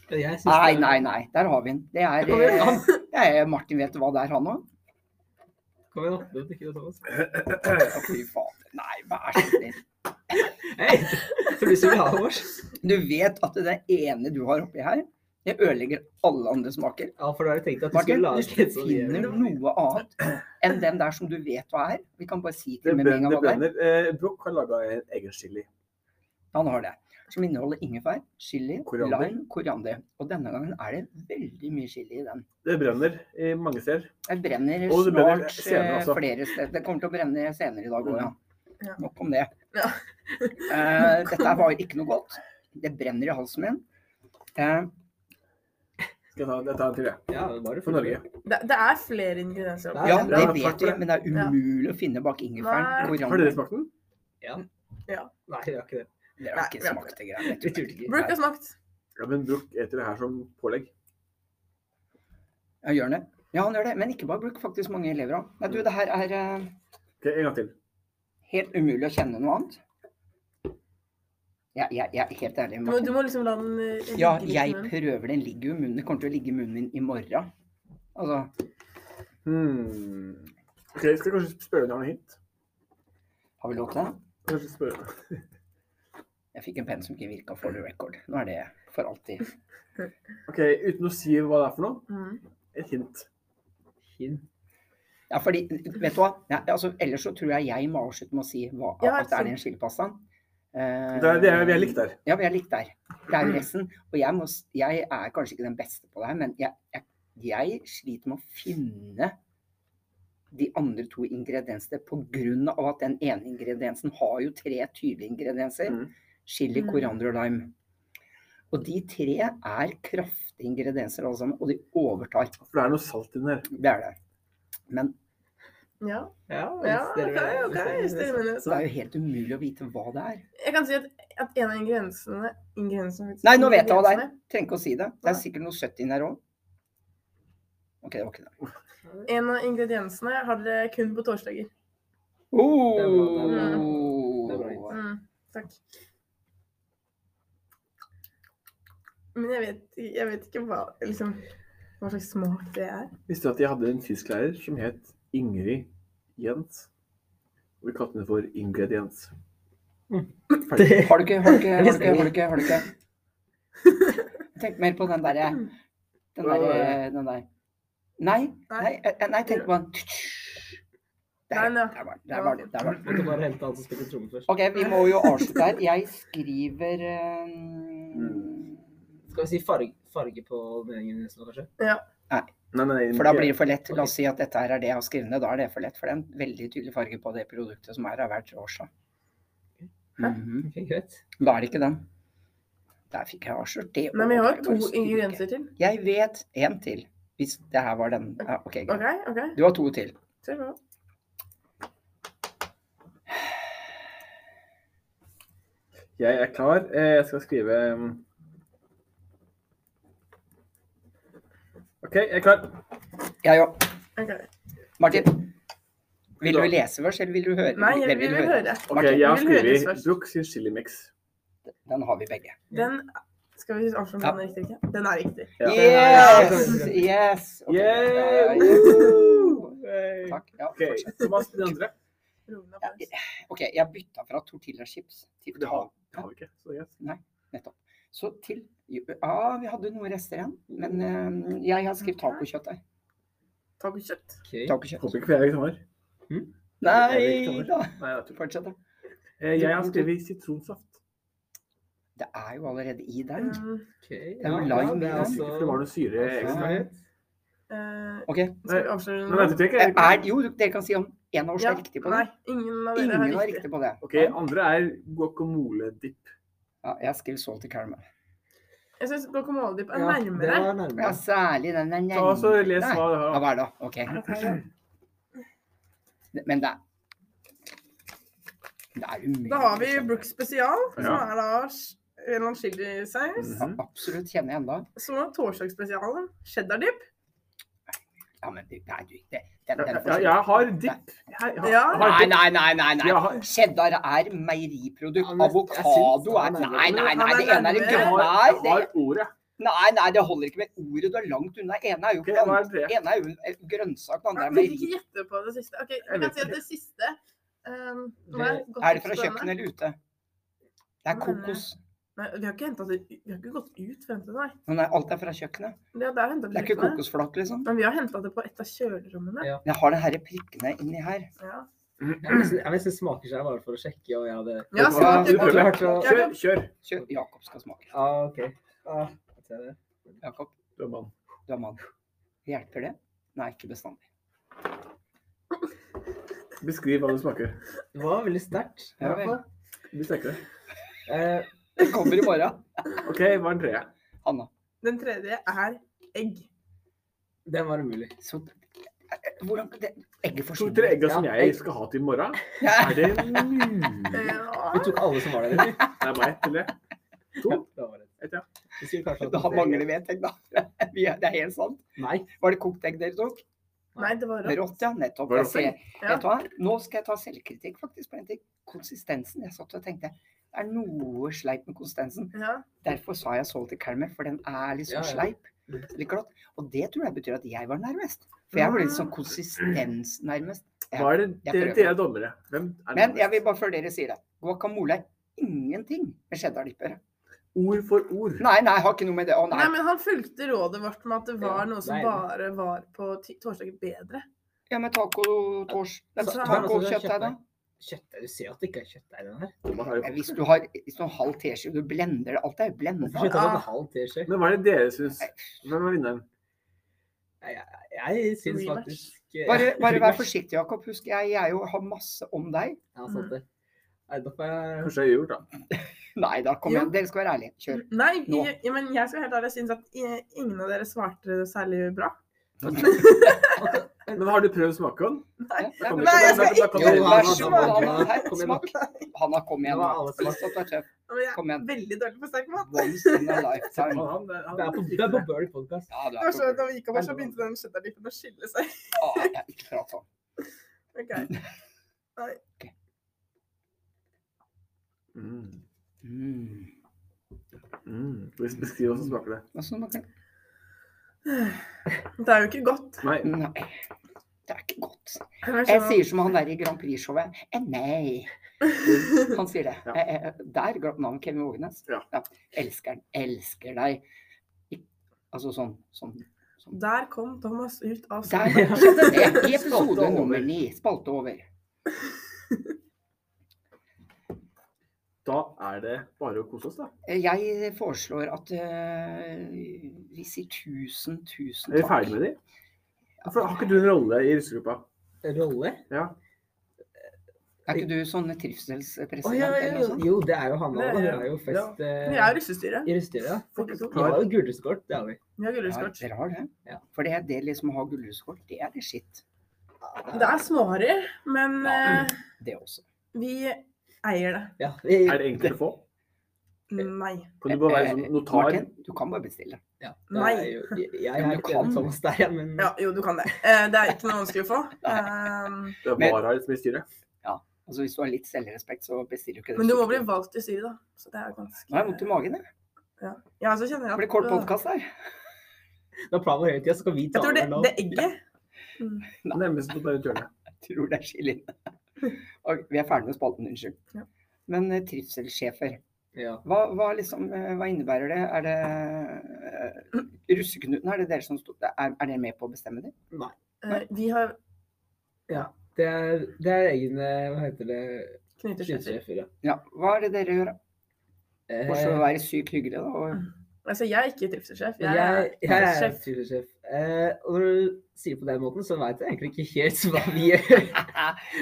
Speaker 3: Men Jeg synes
Speaker 2: Nei,
Speaker 3: det er-
Speaker 2: nei, nei. Der har vi den. Det er
Speaker 3: Kom igjen,
Speaker 2: eh, *laughs* det er- Martin vet hva det er, han òg.
Speaker 3: Kom igjen, da. Det ikke det, Thomas.
Speaker 2: Fy fader. Nei, vær så snill.
Speaker 3: Hei! Så blir det så glad av oss.
Speaker 2: Du vet at det ene du har oppi her, det ødelegger alle andre smaker.
Speaker 3: Ja, for da har jeg tenkt at du skulle
Speaker 2: Martin,
Speaker 3: lage
Speaker 2: hvis du
Speaker 3: et sånt
Speaker 2: finner
Speaker 3: jævlig-
Speaker 2: noe annet enn den der som du vet hva er Vi kan bare si
Speaker 1: Det
Speaker 2: til med en gang
Speaker 1: brenner. *clears throat* Det
Speaker 2: hva det er.
Speaker 1: brenner. Eh, Brokk har laga en egen chili.
Speaker 2: Han har det. Som inneholder ingefær, chili,
Speaker 1: Koriander.
Speaker 2: lime, koriander. Og denne gangen er det veldig mye chili i den.
Speaker 1: Det brenner i mange steder.
Speaker 2: Det brenner
Speaker 1: Og det brenner
Speaker 2: snart
Speaker 1: senere,
Speaker 2: eh,
Speaker 1: altså.
Speaker 2: flere steder. Det kommer til å brenne senere i dag òg, ja.
Speaker 4: Ja.
Speaker 2: Nok om det.
Speaker 4: Ja.
Speaker 2: Eh, dette var ikke noe godt. Det brenner i halsen min. Eh,
Speaker 1: Skal jeg ta, jeg tar en til, jeg.
Speaker 3: Ja, bare
Speaker 1: For Norge.
Speaker 4: Det, det er flere ingredienser oppi.
Speaker 3: Nei,
Speaker 2: ja,
Speaker 3: det
Speaker 2: det
Speaker 1: er bra. Takk
Speaker 2: vet
Speaker 1: for
Speaker 2: vi,
Speaker 1: det.
Speaker 2: men det er
Speaker 4: Ja.
Speaker 2: umulig å finne bak ingefæren.
Speaker 4: Nei.
Speaker 1: Har dere
Speaker 2: Koriander
Speaker 1: smakt den?
Speaker 3: Nei, vi har ikke det.
Speaker 2: Det har ikke
Speaker 4: Nei, vi har
Speaker 2: smakt det greiene.
Speaker 3: Vi turte ikke.
Speaker 4: Brokk har smakt.
Speaker 1: Ja, men Brokk eter det her som pålegg.
Speaker 2: Ja, gjør han det? Ja, han gjør det. Men ikke bare bruk faktisk mange elever av. Nei, du, det her er eh,
Speaker 1: Ok, En gang til.
Speaker 2: helt umulig å kjenne noe annet. Jeg, jeg, jeg er helt ærlig.
Speaker 4: Du må,
Speaker 2: Martin.
Speaker 4: du må liksom la den eh, ligge
Speaker 2: Ja,
Speaker 4: litt i
Speaker 2: jeg
Speaker 4: munnen.
Speaker 2: prøver. Den ligger jo i munnen. Den kommer til å ligge i munnen min i morgen. Altså,
Speaker 1: Hmm. Ok, Skal jeg kanskje spørre om du har noe hint?
Speaker 2: har vi lov til det?
Speaker 1: Kanskje spørre.
Speaker 2: Jeg fikk en penn som ikke virka for the record. Nå er det for alltid.
Speaker 1: Ok, Uten å si hva det er for noe,
Speaker 4: Mm.
Speaker 1: et hint.
Speaker 3: Hint.
Speaker 2: Ja, fordi, vet du hva? Nei, altså, ellers så tror jeg jeg må avslutte med å si hva,
Speaker 4: Ja,
Speaker 2: at det er
Speaker 4: sant.
Speaker 2: den chilipastaen. Eh,
Speaker 1: Det er, det er, vi er likt der.
Speaker 2: Ja, vi er likt der. Det
Speaker 4: Mm.
Speaker 2: er jo resten. Og jeg, må, s- jeg er kanskje ikke den beste på det her, men jeg, jeg, jeg sliter med å finne de andre to ingrediensene pga. at den ene ingrediensen har jo tre tydelige ingredienser.
Speaker 1: Mhm.
Speaker 2: Chili,
Speaker 4: Mm.
Speaker 2: koriander og lime. Og de tre er kraftige ingredienser alle sammen, og de overtar.
Speaker 1: For det er noe salt inni her.
Speaker 2: Det er det. Men
Speaker 4: Ja,
Speaker 3: Ja,
Speaker 4: ja
Speaker 3: hvis
Speaker 4: OK.
Speaker 3: dere-
Speaker 4: ok,
Speaker 3: hvis dere-
Speaker 4: stemmer det.
Speaker 2: så det er jo helt umulig å vite hva det er.
Speaker 4: Jeg kan si at, at en av ingrediensene ingrediensene faktisk-
Speaker 2: Nei, nå vet jeg hva det er.
Speaker 4: ingrediensene-
Speaker 2: Trenger ikke å si det. Det
Speaker 4: Nei.
Speaker 2: er sikkert noe søtt inni der òg. OK, det var ikke det.
Speaker 4: En av ingrediensene har dere kun på torsdager.
Speaker 2: Oh!
Speaker 3: Det var- det var- det var ikke-
Speaker 4: Mm, takk. Men jeg vet, jeg vet ikke hva, liksom, hva slags smak det er.
Speaker 1: Visste du at jeg hadde en tysklærer som het Ingrid Jens? Og vi kalte henne for Ingrediens.
Speaker 2: Mm.
Speaker 1: Ferdig.
Speaker 2: Har du ikke, har du ikke, har du ikke, har du ikke, har du ikke? Tenk mer på den derre den der, eh, den der. Nei, nei, eh, nei, tenk på den. Der,
Speaker 4: Nei, nei.
Speaker 2: der var den. Der var den. Der var den.
Speaker 3: Måtte bare hente han som spilte tromme først.
Speaker 2: OK, vi må jo avslutte her. Jeg skriver
Speaker 4: Mm.
Speaker 2: eh,
Speaker 3: Skal vi si farge, farge på den ene ingrediensen, nå, kanskje?
Speaker 1: Nei, nei,
Speaker 2: For da blir det for lett. La oss si at dette her er det jeg har skrevet ned. Da er det for lett, for det er en veldig tydelig farge på det produktet som er av hvert årsak. Mhm.
Speaker 3: Ok, greit.
Speaker 2: Da er det ikke den. Der fikk jeg avslørt det.
Speaker 4: Men vi har
Speaker 2: Det var
Speaker 4: to
Speaker 2: bare styrke.
Speaker 4: ingredienser til.
Speaker 2: Jeg vet en til. Hvis det her var den. Ja, OK, greit.
Speaker 4: OK, OK.
Speaker 2: Du har to til.
Speaker 4: Se på.
Speaker 1: Jeg er klar. Eh, Jeg skal skrive mm. OK, jeg er klar.
Speaker 2: Jeg òg.
Speaker 4: Ok.
Speaker 2: Martin. Vil du lese først, eller vil du høre?
Speaker 4: Nei,
Speaker 2: Hvem
Speaker 4: jeg vil høre.
Speaker 1: Ok,
Speaker 2: Martin,
Speaker 1: Jeg har
Speaker 4: vil høres
Speaker 1: skrevet
Speaker 4: først.
Speaker 1: Brooks sin chilimix.
Speaker 2: Den har vi begge.
Speaker 4: Den Skal vi avsløre om
Speaker 2: Ja.
Speaker 4: den er riktig? eller ikke? Den er riktig.
Speaker 1: Ja.
Speaker 2: Yes! Yes! Ok,
Speaker 1: Yeah!
Speaker 2: da-
Speaker 1: Woo!
Speaker 2: Takk. Ja,
Speaker 1: OK,
Speaker 2: fortsett.
Speaker 1: Thomas den andre.
Speaker 4: Rolig applaus.
Speaker 2: OK, jeg bytta fra tortillachips til
Speaker 1: Det har,
Speaker 2: taco.
Speaker 1: det har vi ikke. Så det er greit.
Speaker 2: Så til Ja, vi hadde noen rester igjen, men eh, jeg har skrevet tacokjøttdeig.
Speaker 4: Tacokjøtt.
Speaker 3: Ok.
Speaker 2: Tacokjøtt.
Speaker 1: Håper ikke jeg har.
Speaker 2: Nei da!
Speaker 1: Nei, jeg, tror.
Speaker 2: Fortsett, da.
Speaker 1: Eh, jeg har skrevet sitronsaft.
Speaker 2: Det er jo allerede i den.
Speaker 4: Um,
Speaker 3: ok.
Speaker 2: er
Speaker 3: Ja,
Speaker 2: vel
Speaker 3: ja,
Speaker 2: lime,
Speaker 3: det er
Speaker 2: ja.
Speaker 1: Altså, for det var
Speaker 3: altså
Speaker 1: noe syre ekstra.
Speaker 3: ekstrahet.
Speaker 4: eh,
Speaker 2: OK.
Speaker 4: skal vi avsløre
Speaker 1: Men vent,
Speaker 4: nå?
Speaker 1: jeg tenker-
Speaker 2: Er, jo, dere kan si om én av oss
Speaker 4: Ja,
Speaker 2: er riktig på
Speaker 4: Nei,
Speaker 2: det.
Speaker 4: ingen av dere
Speaker 2: Ingen
Speaker 4: er
Speaker 2: er
Speaker 4: riktig.
Speaker 2: riktig på det.
Speaker 1: OK, andre er guacamole-dipp.
Speaker 2: Ja, jeg skriver salty caramel.
Speaker 4: Jeg syns guacamoledip er
Speaker 3: Ja,
Speaker 4: nærmere.
Speaker 3: Det var nærmere.
Speaker 2: Ja, særlig den der
Speaker 1: Ta og så les
Speaker 2: Nei.
Speaker 1: hva du
Speaker 2: Ja,
Speaker 1: har.
Speaker 2: hva er det? da? OK. Men det er Det er umulig.
Speaker 4: Da har vi
Speaker 2: å skjønne.
Speaker 4: Brooks spesial, som
Speaker 1: Ja.
Speaker 4: er da sh- en eller annen chilisaus.
Speaker 2: Ja,
Speaker 1: Mhm.
Speaker 2: absolutt. Kjenner jeg enda.
Speaker 4: Så torsdagsspesialen. Cheddardip.
Speaker 2: Ja, men det er jo ikke den, den
Speaker 1: Ja, jeg har dipp. Jeg har- jeg
Speaker 4: Ja.
Speaker 1: har
Speaker 2: Nei,
Speaker 1: dipp.
Speaker 2: nei, nei. nei,
Speaker 1: Jeg
Speaker 2: nei.
Speaker 1: har-
Speaker 2: Cheddar er meieriprodukt.
Speaker 3: Ja, men jeg syns
Speaker 2: Avokado er
Speaker 3: han er
Speaker 2: Nei,
Speaker 3: nærmere.
Speaker 2: nei, nei.
Speaker 4: Han er
Speaker 2: Det ene er en
Speaker 4: nærmere.
Speaker 1: Jeg
Speaker 2: grønn
Speaker 1: har,
Speaker 2: Nei,
Speaker 1: jeg
Speaker 2: det-
Speaker 1: har ordet.
Speaker 2: nei, nei, det holder ikke med ordet. Du er langt unna. Det ene er jo
Speaker 1: Ok, hva er
Speaker 2: plant-
Speaker 1: det?
Speaker 2: det ene er jo en grønnsak, det andre
Speaker 4: Jeg
Speaker 2: er
Speaker 4: vil ikke
Speaker 2: meieri.
Speaker 4: gjette på det siste. Ok,
Speaker 1: Jeg vet
Speaker 4: jeg kan si at
Speaker 1: ikke.
Speaker 4: det siste um, nå
Speaker 3: Det-
Speaker 4: jeg gått
Speaker 2: Er det
Speaker 4: ut
Speaker 2: fra
Speaker 4: på denne.
Speaker 2: kjøkkenet eller ute? Det er
Speaker 4: Hva mener du?
Speaker 2: kokos.
Speaker 4: Nei, vi har ikke hentet det Vi har ikke gått ut fra hentet, nei.
Speaker 2: Men nei, alt er fra kjøkkenet.
Speaker 4: Det, det, er hentet
Speaker 2: Det er ikke
Speaker 4: fra kjøkkenet.
Speaker 2: kokosflak, liksom.
Speaker 4: Men vi har henta det på et av kjølerommene.
Speaker 3: Ja.
Speaker 2: Men Jeg har de herre prikkene inni her.
Speaker 4: Ja.
Speaker 3: Jeg vil nesten- jeg vil nesten smaker seg bare for å sjekke om jeg hadde
Speaker 4: Ja,
Speaker 1: Du
Speaker 4: smak
Speaker 1: prøver.
Speaker 3: det
Speaker 4: det.
Speaker 3: klart å-
Speaker 1: Kjør. kjør.
Speaker 2: Kjør. Jakob skal smake.
Speaker 3: Ah, OK. Ah, jeg ser det.
Speaker 2: Jakob,
Speaker 1: Du er mann.
Speaker 2: du er mann. Hjelper det? Nei, ikke bestandig.
Speaker 1: Beskriv hva du smaker.
Speaker 3: Det var veldig sterkt. i
Speaker 2: Ja,
Speaker 3: hvert fall.
Speaker 1: Du sterkere.
Speaker 3: Eh,
Speaker 2: Det kommer i morgen.
Speaker 1: OK, hva er den tredje?
Speaker 2: Hanna.
Speaker 4: Den tredje er egg.
Speaker 3: den var umulig.
Speaker 2: Så, eh, hvordan det, Egget
Speaker 1: To-tre
Speaker 2: forsvinner.
Speaker 1: egg som
Speaker 3: Ja,
Speaker 1: jeg
Speaker 3: egg.
Speaker 1: skal ha til i morgen.
Speaker 2: Ja.
Speaker 1: Er det
Speaker 2: *laughs*
Speaker 1: mulig?
Speaker 4: Ja.
Speaker 3: Vi tok alle som var der, eller?
Speaker 1: Det er meg, eller?
Speaker 3: Ja,
Speaker 1: To?
Speaker 3: da var det.
Speaker 1: Et, ja.
Speaker 3: Vi skulle kanskje hatt
Speaker 2: Da
Speaker 3: tre.
Speaker 2: mangler vi et egg, da. *laughs* Vi er- Det er helt sant.
Speaker 3: Nei.
Speaker 2: Var det kokt egg dere tok?
Speaker 4: Eh, Nei, det var rått.
Speaker 2: Rått, ja. Nettopp.
Speaker 1: Var
Speaker 2: Jeg
Speaker 1: det rått
Speaker 2: ser,
Speaker 4: Ja.
Speaker 2: vet du hva? Nå skal jeg ta selvkritikk faktisk på en ting. Konsistensen. Jeg satt og tenkte det er noe sleip med konsistensen.
Speaker 4: Ja.
Speaker 2: Derfor sa jeg salty caramel, for den er litt sånn
Speaker 3: Ja, ja.
Speaker 2: sleip. Litt glatt. Og det tror jeg betyr at jeg var nærmest. For jeg var litt sånn konsistens nærmest.
Speaker 1: Hva er det
Speaker 2: Jeg
Speaker 1: dere,
Speaker 2: prøver.
Speaker 1: dere er dommere? Hvem er
Speaker 2: Men jeg
Speaker 1: dommere?
Speaker 2: vil bare før dere sier det. Guacamole er ingenting med cheddardipper.
Speaker 1: Ord for ord.
Speaker 2: Nei, nei, jeg har ikke noe med det. Å,
Speaker 4: Nei,
Speaker 2: nei.
Speaker 4: men han fulgte rådet vårt med at det var
Speaker 3: Ja,
Speaker 4: noe som
Speaker 3: nei.
Speaker 4: bare var på ti- torsdager bedre.
Speaker 2: Ja, men taco-tors...
Speaker 4: Så er det
Speaker 2: Taco-kjøttdeig, da?
Speaker 3: Kjøttdeig. Du ser at det ikke er kjøttdeig i den her.
Speaker 1: Thomas er jo-
Speaker 2: Ja, Hvis du har hvis du har halv teskje, du blender det. Alt er jo
Speaker 3: Hvorfor
Speaker 2: blenda.
Speaker 3: kjøttdeig er en halv teskje?
Speaker 1: Men hva er det dere syns? Hvem er vinneren?
Speaker 3: Jeg syns
Speaker 4: Rematch.
Speaker 3: faktisk eh,
Speaker 2: Bare, bare vær
Speaker 3: rematch.
Speaker 2: forsiktig, Jakob. Husk, jeg, jeg er jo har masse om deg.
Speaker 3: Ja, sant det. Nei, da får jeg
Speaker 1: Kanskje jeg
Speaker 2: *laughs*
Speaker 1: gjør da.
Speaker 2: Nei da, kom
Speaker 4: Jo.
Speaker 2: igjen. Dere skal være ærlige. Kjør.
Speaker 4: Nei,
Speaker 2: Nå.
Speaker 4: jeg, ja, men jeg skal helt ærlig synes at i- ingen av dere svarte særlig bra.
Speaker 1: Men har du prøvd å smake den?
Speaker 4: Nei.
Speaker 2: Nei,
Speaker 1: Kom
Speaker 2: men-
Speaker 1: igjen.
Speaker 4: Nei, jeg skal
Speaker 1: Da kan
Speaker 2: Jo,
Speaker 1: dere-
Speaker 2: vær så god,
Speaker 3: Hanna,
Speaker 2: Hanna. Her,
Speaker 3: kom igjen,
Speaker 2: smak. Hanna, kom igjen.
Speaker 3: Nå er alle
Speaker 2: da.
Speaker 3: smak.
Speaker 2: Vis at du er tøff.
Speaker 4: Men jeg
Speaker 2: Kom
Speaker 4: er
Speaker 2: igjen.
Speaker 4: veldig dårlig på sterk mat.
Speaker 2: Once in a lifetime.
Speaker 1: Han- han- han-
Speaker 3: Det er på, det er på Burley Podcast.
Speaker 2: Ja, du
Speaker 4: Det
Speaker 2: er
Speaker 4: var så,
Speaker 2: så
Speaker 4: da vi gikk over, så begynte den cheddardippen å skille seg. *laughs*
Speaker 2: ah, jeg er ikke prat sånn.
Speaker 4: Ok.
Speaker 1: Mm,
Speaker 2: Mm.
Speaker 1: mm. Beskriv hvordan smaker det.
Speaker 2: Hva sånn, ok.
Speaker 4: Det er jo ikke godt.
Speaker 1: Nei,
Speaker 2: Nei, det er ikke godt.
Speaker 4: Jeg sånn,
Speaker 2: Jeg sier som han der i Grand Prix-showet. Eh, nei. Han sier det.
Speaker 1: Ja.
Speaker 2: Eh, eh, der glapp navnet Kevin Vågenes.
Speaker 1: Ja.
Speaker 2: Elsker den. Elsker deg. Ik- Altså sånn, sånn.
Speaker 4: Der kom Thomas ut av
Speaker 2: Der
Speaker 4: skolen.
Speaker 2: skjedde det i
Speaker 1: Spalte
Speaker 2: episode
Speaker 1: over.
Speaker 2: nummer ni. Spalte over.
Speaker 1: da er det bare å kose oss, da.
Speaker 2: Eh, Jeg foreslår at eh, vi sier tusen, tusen
Speaker 1: Er vi ferdig med de? For har ikke du en rolle i russegruppa?
Speaker 3: Rolle?
Speaker 1: Ja.
Speaker 2: Er ikke du sånn
Speaker 3: Å,
Speaker 2: trivselspresident?
Speaker 3: ja, ja,
Speaker 2: eller
Speaker 3: ja.
Speaker 2: noe sånt?
Speaker 3: Jo, det er jo Hanna.
Speaker 4: Det er
Speaker 3: da.
Speaker 4: jeg.
Speaker 3: Hun er jo fest eh,
Speaker 4: Vi er jo russestyret.
Speaker 3: i Rusteria.
Speaker 4: Begge to.
Speaker 3: Vi har jo gulleskort, det har vi.
Speaker 4: Vi har
Speaker 2: Ja,
Speaker 4: gullrusskort.
Speaker 2: dere har det.
Speaker 3: Ja.
Speaker 2: For det, det liksom å ha gullhuskort, det er det skitt,
Speaker 4: Det er småharry, men
Speaker 2: Ja.
Speaker 4: eh,
Speaker 2: det også.
Speaker 4: vi eier det.
Speaker 3: Ja, vi,
Speaker 1: Er det enkelt å få?
Speaker 4: Nei.
Speaker 1: Kan du bare være sånn notar?
Speaker 2: Eh, Martin, du kan bare bestille.
Speaker 3: Ja,
Speaker 4: Nei.
Speaker 3: da er jo- Jeg, jeg
Speaker 2: Men
Speaker 3: er
Speaker 2: du
Speaker 3: ikke
Speaker 2: kan.
Speaker 3: enig med Thomas der, ja, men
Speaker 4: Ja, jo, du kan det. Eh, Det er ikke noe vanskelig å
Speaker 2: *laughs*
Speaker 4: få. Eh,
Speaker 1: Det er
Speaker 2: Men-
Speaker 1: vara som i styret.
Speaker 2: Altså, hvis du har litt selvrespekt, så bestiller du ikke det.
Speaker 4: Men du må bli valgt til styret, da. Så det er jo ganske
Speaker 2: Nå har jeg vondt i magen, jeg.
Speaker 4: Ja, så kjenner jeg
Speaker 2: Det
Speaker 4: at
Speaker 2: blir
Speaker 4: eh,
Speaker 2: kort podkast her.
Speaker 3: når planen var hele tida, så skal vi ta
Speaker 4: Jeg tror det,
Speaker 3: over nå.
Speaker 4: det egget mm.
Speaker 1: Nærmest på et hjørne.
Speaker 2: Jeg tror det er chilien.
Speaker 4: *laughs*
Speaker 2: Og vi er ferdig med spalten, unnskyld.
Speaker 4: Ja.
Speaker 2: Men eh, trivselssjefer,
Speaker 3: Ja.
Speaker 2: hva, hva, liksom, eh, hva innebærer det? Er det eh, Russeknuten, er det dere som sto- er, er dere med på å bestemme det?
Speaker 4: eh, Vi har
Speaker 3: Det, er, det er egne Hva heter det?
Speaker 4: knytesjefer.
Speaker 3: Skytesjefer, ja.
Speaker 2: Ja. Hva er det dere gjør? da?
Speaker 3: Eh,
Speaker 2: Bortsett fra å være sykt hyggelig, da. Og
Speaker 4: Altså, jeg er ikke trivselssjef.
Speaker 3: men jeg,
Speaker 4: Jeg
Speaker 3: jeg
Speaker 4: er
Speaker 3: er
Speaker 4: sjef.
Speaker 3: skytesjef. Eh, og når du sier det på den måten, så veit jeg egentlig ikke helt
Speaker 4: *laughs*
Speaker 3: hva vi gjør.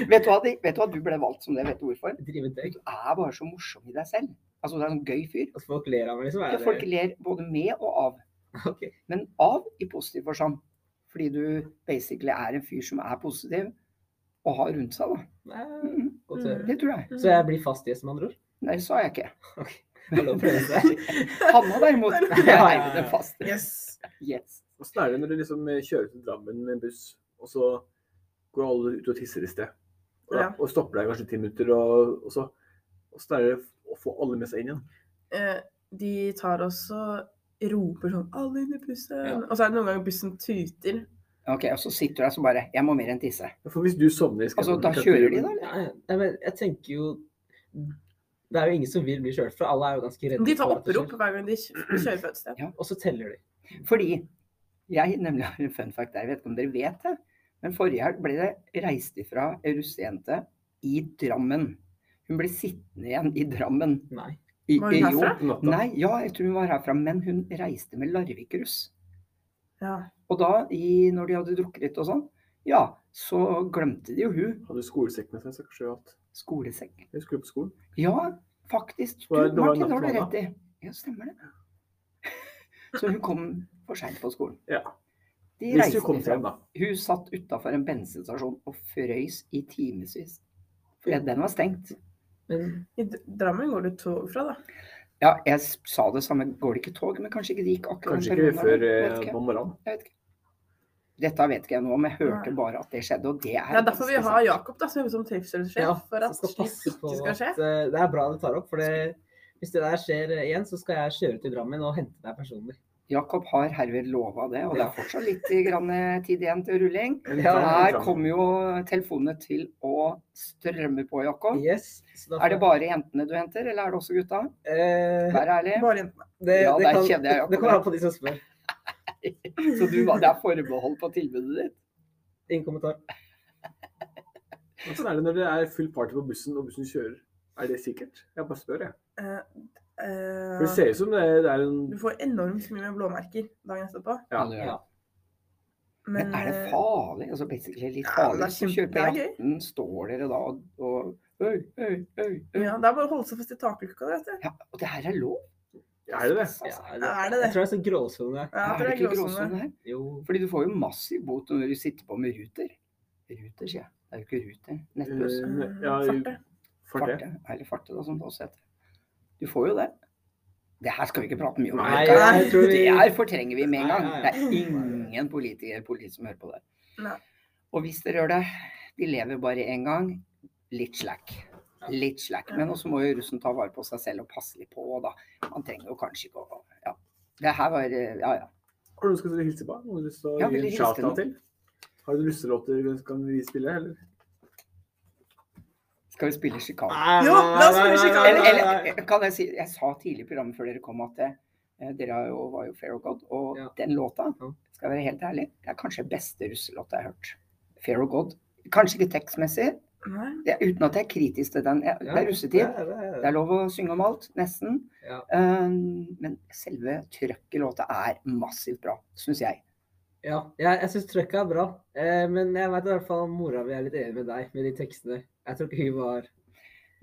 Speaker 2: vet, du hva, de- vet du hva du ble valgt som det? Vet du hvorfor?
Speaker 3: Drive med døgn.
Speaker 2: Du er bare så morsom i deg selv. Altså, du er en sånn gøy fyr.
Speaker 3: At folk ler av meg, liksom.
Speaker 2: Ja,
Speaker 3: Er
Speaker 2: folk ler både med og av.
Speaker 3: det Ok.
Speaker 2: Men av i positiv forstand. Fordi du basically er en fyr som er positiv og har rundt seg, da.
Speaker 3: Nei,
Speaker 2: Mm,
Speaker 3: Godt å høre.
Speaker 2: Det tror jeg.
Speaker 3: Så jeg blir fast gjest, med andre ord?
Speaker 2: Nei, det sa jeg ikke.
Speaker 3: Ok. Det er lov å prøve
Speaker 4: *laughs*
Speaker 3: seg.
Speaker 2: Hanna derimot.
Speaker 3: ja, ja.
Speaker 2: Nei, det er fast.
Speaker 4: Yes.
Speaker 2: Yes.
Speaker 1: Åssen er det når du liksom kjører til Drammen med en buss, og så går alle ut og tisser i sted? Og,
Speaker 4: Ja.
Speaker 1: og stopper deg kanskje ti minutter, og, og så Åssen er det å få alle med seg inn igjen?
Speaker 4: Eh, De tar også roper sånn 'Alle inn i bussen!'
Speaker 3: Ja.
Speaker 4: Og så er det noen ganger bussen tuter.
Speaker 2: Ok, og så sitter du der som bare Jeg må mer enn tisse.
Speaker 1: For hvis du sovner i
Speaker 2: Altså,
Speaker 1: skrekken-
Speaker 2: da kjører de, da? eller?
Speaker 3: Nei, nei, men jeg tenker jo Det er jo ingen som vil bli kjørt fra. Alle er jo ganske redde.
Speaker 4: De tar
Speaker 3: for at det
Speaker 4: opprop
Speaker 3: skjer.
Speaker 4: hver gang de kj- kjører fra et sted.
Speaker 3: Og så teller de.
Speaker 2: Fordi jeg nemlig har en fun fact der. Jeg vet ikke om dere vet det, men forrige helg ble det reist ifra ei russejente i Drammen. Hun ble sittende igjen i Drammen.
Speaker 3: Nei.
Speaker 2: I,
Speaker 4: Var hun
Speaker 2: i- jo.
Speaker 4: herfra?
Speaker 1: På natta.
Speaker 2: Nei, ja, jeg tror hun var herfra, men hun reiste med Larvik-russ.
Speaker 4: Ja.
Speaker 2: Og da, i, når de hadde drukket litt og sånn, ja, så glemte de jo hun
Speaker 1: Hadde skolesekk med seg, så kanskje at
Speaker 2: skolesekk.
Speaker 1: jeg skulle på skolen.
Speaker 2: Ja, faktisk. Du,
Speaker 1: Det var- det var
Speaker 2: Martin, det har du
Speaker 1: nattmandag.
Speaker 2: rett i. Ja, stemmer det. *laughs* Så hun kom for seint på skolen.
Speaker 1: Ja.
Speaker 2: De
Speaker 1: Hvis
Speaker 2: reiste
Speaker 1: du kom
Speaker 2: ifra.
Speaker 1: frem, da.
Speaker 2: Hun satt utafor en bensinstasjon og frøys i timevis. Fordi den var stengt.
Speaker 3: Men
Speaker 4: I D- Drammen går det tog fra, da.
Speaker 2: Ja, jeg s- sa det samme. Går det ikke tog? Men kanskje ikke det gikk akkurat
Speaker 1: Kanskje
Speaker 2: den perioden
Speaker 1: ikke
Speaker 2: der,
Speaker 1: før
Speaker 2: vet
Speaker 1: eh,
Speaker 2: ikke.
Speaker 1: på morgenen.
Speaker 2: Jeg vet ikke. Dette vet ikke jeg noe om. Jeg hørte
Speaker 4: Nei.
Speaker 2: bare at det skjedde, og det er
Speaker 4: Det er derfor vi
Speaker 2: ganske
Speaker 4: har
Speaker 2: sant.
Speaker 4: Jakob da, som, som trivselssjef.
Speaker 3: ja,
Speaker 4: for at
Speaker 3: så
Speaker 4: slikt
Speaker 3: skal passe på
Speaker 4: ikke skal skje.
Speaker 3: at eh, Det er bra du tar opp, for det, hvis det der skjer eh, igjen, så skal jeg kjøre til Drammen og hente deg personlig.
Speaker 2: Jakob har herved lova det, og det er fortsatt litt grann eh, tid igjen til rulling.
Speaker 1: Men
Speaker 3: Ja,
Speaker 1: fram-
Speaker 2: Her
Speaker 1: fram-
Speaker 2: kommer jo telefonene til å strømme på, Jakob.
Speaker 3: Yes. Så da får
Speaker 2: Er det bare jentene du henter, eller er det også gutta?
Speaker 3: Eh,
Speaker 2: Vær ærlig.
Speaker 4: Bare jentene.
Speaker 3: det,
Speaker 2: Ja,
Speaker 3: det,
Speaker 2: der
Speaker 3: kan,
Speaker 2: kjenner jeg Jakob.
Speaker 3: det kommer an på de som spør.
Speaker 2: Så du, det er forbehold på tilbudet ditt?
Speaker 3: Ingen kommentar.
Speaker 1: Men Sånn er det når det er full party på bussen, og bussen kjører. Er det sikkert? Jeg bare spør, jeg.
Speaker 4: *laughs*
Speaker 1: For
Speaker 4: Eh,
Speaker 1: det
Speaker 4: eh,
Speaker 1: ser ut som det, det er en
Speaker 4: du får enormt mye med blåmerker dagen etterpå.
Speaker 1: Ja.
Speaker 2: det gjør
Speaker 3: Ja.
Speaker 2: Men er det
Speaker 4: eh,
Speaker 2: farlig? Altså basically litt
Speaker 4: ja,
Speaker 2: farlig.
Speaker 4: det er
Speaker 2: Hvis du
Speaker 4: kjempe-
Speaker 2: kjører på
Speaker 4: det er gøy.
Speaker 2: jatten, står dere da og, og øy, øy, øy, øy.
Speaker 4: Ja, det er bare å holde seg fast i takluka, vet du.
Speaker 2: Ja, og det her er lov.
Speaker 1: Er det det?
Speaker 3: Ja,
Speaker 4: Er det det?
Speaker 3: Jeg tror det er sånn gråsone.
Speaker 2: er
Speaker 4: Ja, det
Speaker 2: det
Speaker 4: er sånn,
Speaker 2: ikke
Speaker 4: gråsone.
Speaker 2: gråsone her?
Speaker 3: Jo.
Speaker 2: Fordi du får jo massiv bot når du sitter på med ruter. Ruter, sier jeg. Det er jo ikke ruter. Nettbuss.
Speaker 4: Mm,
Speaker 1: Eh, ja,
Speaker 4: Farte.
Speaker 1: Farte.
Speaker 2: Farte. Eller farte, da, som det også heter. Du får jo det. Det her skal vi ikke prate mye om.
Speaker 1: Nei,
Speaker 2: det,
Speaker 4: jeg
Speaker 3: tror vi-
Speaker 2: her fortrenger vi med en
Speaker 3: Nei,
Speaker 2: gang.
Speaker 3: nei,
Speaker 2: Det
Speaker 3: nei.
Speaker 2: er ingen politiker eller politi som hører på det.
Speaker 4: Nei.
Speaker 2: Og hvis dere gjør det, de lever bare én gang. Litt slack. Litt slack. Men også må jo russen ta vare på seg selv og passe litt på, da. Man trenger jo kanskje ikke å Ja. Det her var eh, Ja, ja.
Speaker 1: Har du noen som skal hilse på? Noen du har lyst til
Speaker 2: Ja,
Speaker 1: å
Speaker 2: vil
Speaker 1: gi en
Speaker 2: dere hilse
Speaker 1: shout-out til? Har du russelåter vi kan vi spille, eller?
Speaker 2: Skal vi spille Chicago?
Speaker 4: Jo, la oss spille Chicago.
Speaker 2: Eller,
Speaker 4: Nei,
Speaker 2: eller eh, kan jeg si Jeg sa tidlig i programmet før dere kom at eh, dere har jo, var jo Fair of God, og
Speaker 3: Ja.
Speaker 2: den låta,
Speaker 3: Ja.
Speaker 2: skal jeg være helt ærlig, det er kanskje den beste russelåta jeg har hørt. Fair of God. Kanskje ikke tekstmessig,
Speaker 4: Nei.
Speaker 2: det, uten at jeg er kritisk til den. Jeg, det er russetid.
Speaker 3: Ja, det er
Speaker 2: Det er lov å synge om alt, nesten.
Speaker 3: Ja.
Speaker 2: Um, men selve trøkket i låta er massivt bra, syns jeg.
Speaker 3: Ja, jeg, jeg syns trøkket er bra. Eh, men jeg veit i hvert fall mora mi er litt enig med deg med de tekstene. Jeg tror ikke hun var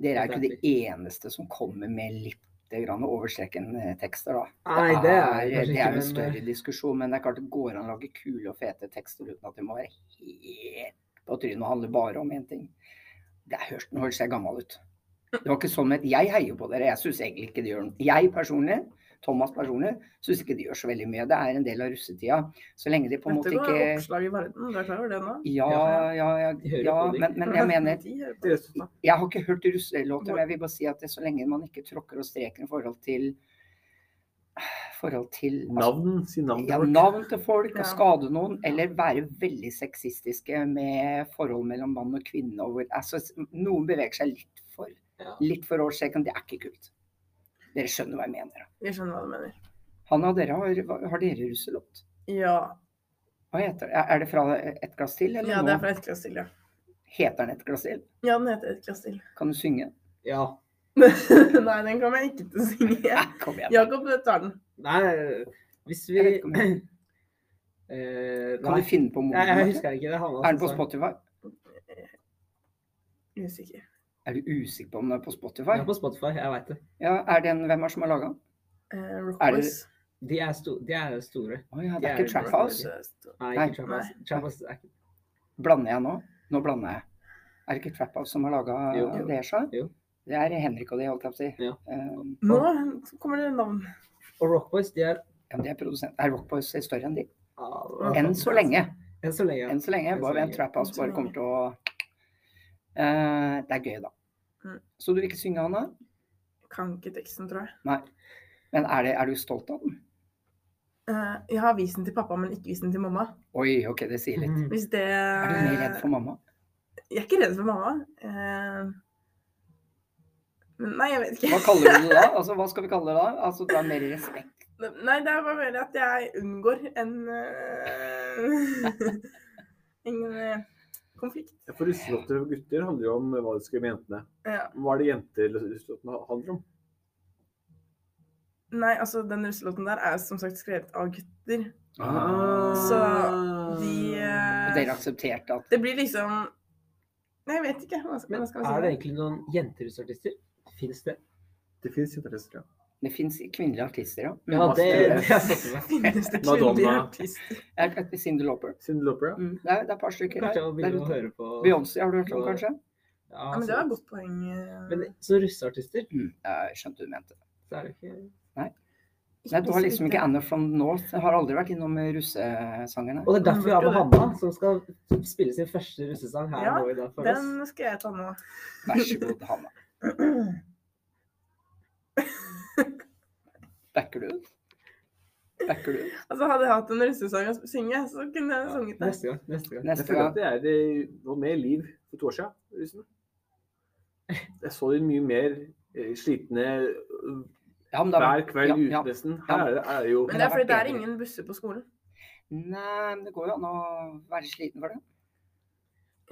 Speaker 2: Dere er jo ikke de eneste som kommer med litt grann overstrekkende tekster, da.
Speaker 3: Nei, det er
Speaker 2: det
Speaker 3: kanskje
Speaker 2: er
Speaker 3: ikke,
Speaker 2: jo en
Speaker 3: men, eh,
Speaker 2: større diskusjon, men det er klart det går an å lage kule og fete tekster uten at det må være helt på trynet og handle bare om én ting. Det er hørt, nå høres jeg gammel ut. Det var ikke sånn men Jeg heier på dere. Jeg syns egentlig ikke det gjør noe. Jeg personlig, Thomas personlig, syns ikke det gjør så veldig mye. Det er en del av russetida. Så lenge de på en måte
Speaker 4: Dette går
Speaker 2: ikke
Speaker 4: oppslag i verden, du er klar over det nå?
Speaker 2: Ja,
Speaker 4: Ja,
Speaker 2: ja, ja.
Speaker 3: De hører
Speaker 2: ja
Speaker 3: på det.
Speaker 2: men,
Speaker 4: *laughs*
Speaker 2: men jeg
Speaker 3: *laughs*
Speaker 2: mener
Speaker 4: De hører på
Speaker 1: Deres da.
Speaker 2: Jeg har ikke hørt russelåter, men jeg vil bare si at det, så lenge man ikke tråkker og streker i forhold til forhold til altså,
Speaker 1: Navn, si navn.
Speaker 2: ja,
Speaker 1: til folk.
Speaker 2: navn til folk,
Speaker 4: Ja.
Speaker 2: og skade noen, eller være veldig sexistiske med forhold mellom mann og kvinne. Og hvor, altså, s- noen beveger seg litt for,
Speaker 3: Ja.
Speaker 2: litt for årsreken, det er ikke kult. Dere skjønner hva jeg mener. da.
Speaker 4: Jeg skjønner hva du mener.
Speaker 2: Hanna, dere har, hva- har dere russelåt?
Speaker 4: Ja,
Speaker 2: Hva heter det? Er det fra Et glass til, eller
Speaker 4: ja
Speaker 2: nå?
Speaker 4: det er fra ett glass til, ja.
Speaker 2: Heter den Et glass til?
Speaker 4: Ja, den heter ett glass til.
Speaker 2: Kan du synge?
Speaker 3: Ja.
Speaker 4: *laughs* Nei, den kommer jeg ikke til å
Speaker 2: *laughs*
Speaker 4: synge.
Speaker 2: Kom igjen.
Speaker 4: Jakob tar den.
Speaker 3: Nei, hvis vi
Speaker 2: Jeg vet ikke om jeg-
Speaker 3: *clears throat* Eh,
Speaker 2: Kan du finne på
Speaker 3: Nei, jeg
Speaker 2: moren?
Speaker 3: husker ikke. det
Speaker 2: Er den på Spotify?
Speaker 4: Usikker.
Speaker 2: Er du usikker på om den er på
Speaker 3: Jeg er
Speaker 2: Spotify?
Speaker 3: på Spotify, jeg vet det.
Speaker 2: Ja, er den, Hvem er det som har laga den?
Speaker 4: Eh, Rock
Speaker 2: Er det-
Speaker 4: Boys.
Speaker 3: De er, sto de er store.
Speaker 2: Å ja, det er ikke
Speaker 3: Jeg er
Speaker 4: Rock
Speaker 2: Trap
Speaker 3: glad i
Speaker 2: House.
Speaker 4: Boys, eh, st-
Speaker 3: Nei,
Speaker 2: Nei.
Speaker 3: ikke Trap House. Trap House er ikke
Speaker 2: Blander jeg nå? Nå blander jeg. Er det ikke Trap House som har laga
Speaker 3: Jo.
Speaker 2: det, Sja?
Speaker 3: Jo.
Speaker 2: Det er Henrik og de, holdt jeg på å si.
Speaker 3: Ja.
Speaker 2: Um,
Speaker 4: Nå kommer det navn.
Speaker 3: Og Rock Boys, de er
Speaker 2: ja, men de er produsent. Er Rock Boys større enn de?
Speaker 3: ah,
Speaker 4: Ja.
Speaker 2: Enn så lenge.
Speaker 3: Enn så lenge.
Speaker 2: Enn så lenge.
Speaker 3: Enn så
Speaker 2: Bare vent,
Speaker 3: lenge.
Speaker 2: Trap House
Speaker 4: Enn så
Speaker 2: bare
Speaker 4: lenge.
Speaker 2: kommer til å Eh, Det er gøy, da.
Speaker 4: Mm.
Speaker 2: Så du vil ikke synge, Anna?
Speaker 4: Kan ikke teksten, tror jeg.
Speaker 2: Nei. Men er, det, er du stolt av den?
Speaker 4: Eh, jeg har vist den til pappa, men ikke vist den til mamma.
Speaker 2: Oi, OK, det sier litt.
Speaker 3: Mm.
Speaker 4: Hvis det
Speaker 2: Er du mer redd for mamma?
Speaker 4: Jeg er ikke redd for mamma. Eh, men nei, jeg vet
Speaker 2: Hva
Speaker 4: ikke.
Speaker 2: kaller du det da? Altså, hva skal vi kalle det da? Altså, du har mer respekt
Speaker 4: Nei, det er bare mer at jeg unngår en eh, *laughs* En eh, konflikt.
Speaker 1: Ja, For russelåter for gutter handler jo om hva de skal gjøre med jentene.
Speaker 4: Ja.
Speaker 1: Hva er det jenter russelåtene handler om?
Speaker 4: Nei, altså, den russelåten der er som sagt skrevet av gutter.
Speaker 2: Ah.
Speaker 4: Så
Speaker 2: Og
Speaker 4: de eh,
Speaker 2: dere aksepterte at
Speaker 4: Det blir liksom Nei, jeg vet ikke. Hva skal,
Speaker 3: Men
Speaker 4: hva skal man
Speaker 3: er det
Speaker 4: si?
Speaker 3: egentlig noen jenterusartister? Fins det?
Speaker 1: Det fins jenterester, ja.
Speaker 2: det fins kvinnelige artister, ja?
Speaker 3: Ja, det, det er sånn som det.
Speaker 4: *laughs* Finnes det
Speaker 1: Madonna.
Speaker 4: kvinnelige artister?
Speaker 2: Jeg heter Cyndi Lauper.
Speaker 1: Cyndi Lauper, ja.
Speaker 2: Mm, det, er, det er et par stykker
Speaker 3: Kanskje
Speaker 2: her.
Speaker 3: jeg må
Speaker 2: der
Speaker 3: begynne å
Speaker 2: ute.
Speaker 3: høre på
Speaker 2: Beyoncé har du hørt om, kanskje?
Speaker 3: Ja,
Speaker 4: Ja, men det
Speaker 3: så-
Speaker 4: var et godt poeng. eh.
Speaker 3: Men som russeartister,
Speaker 2: Mm, jeg skjønte hva du mente.
Speaker 3: så er det ikke
Speaker 2: Nei, du har
Speaker 4: så
Speaker 2: liksom
Speaker 4: vidt jeg-
Speaker 2: ikke Anna from North. Jeg har aldri vært innom russesangerne.
Speaker 3: Og det er derfor vi har med Hanna, som skal spille sin første russesang her
Speaker 4: Ja,
Speaker 3: nå i dag for oss.
Speaker 4: Den skal jeg ta nå.
Speaker 2: Vær så god, Hanna. Backer du? Backer du?
Speaker 4: Altså Hadde jeg hatt en russesang å synge, så kunne jeg sunget det.
Speaker 3: Neste gang. Neste gang.
Speaker 1: Jeg
Speaker 2: Neste
Speaker 1: føler at
Speaker 2: gang.
Speaker 1: det er det var mer liv for to år siden. russene. Jeg så dem mye mer eh, slitne øh,
Speaker 2: Ja, men det har
Speaker 1: hver kveld
Speaker 2: ja, ja,
Speaker 1: ute, nesten.
Speaker 2: ja.
Speaker 1: Her er det- er det jo
Speaker 4: Men det er fordi det er
Speaker 2: bedre.
Speaker 4: ingen busser på skolen.
Speaker 2: Nei, men det går jo an å være sliten for det.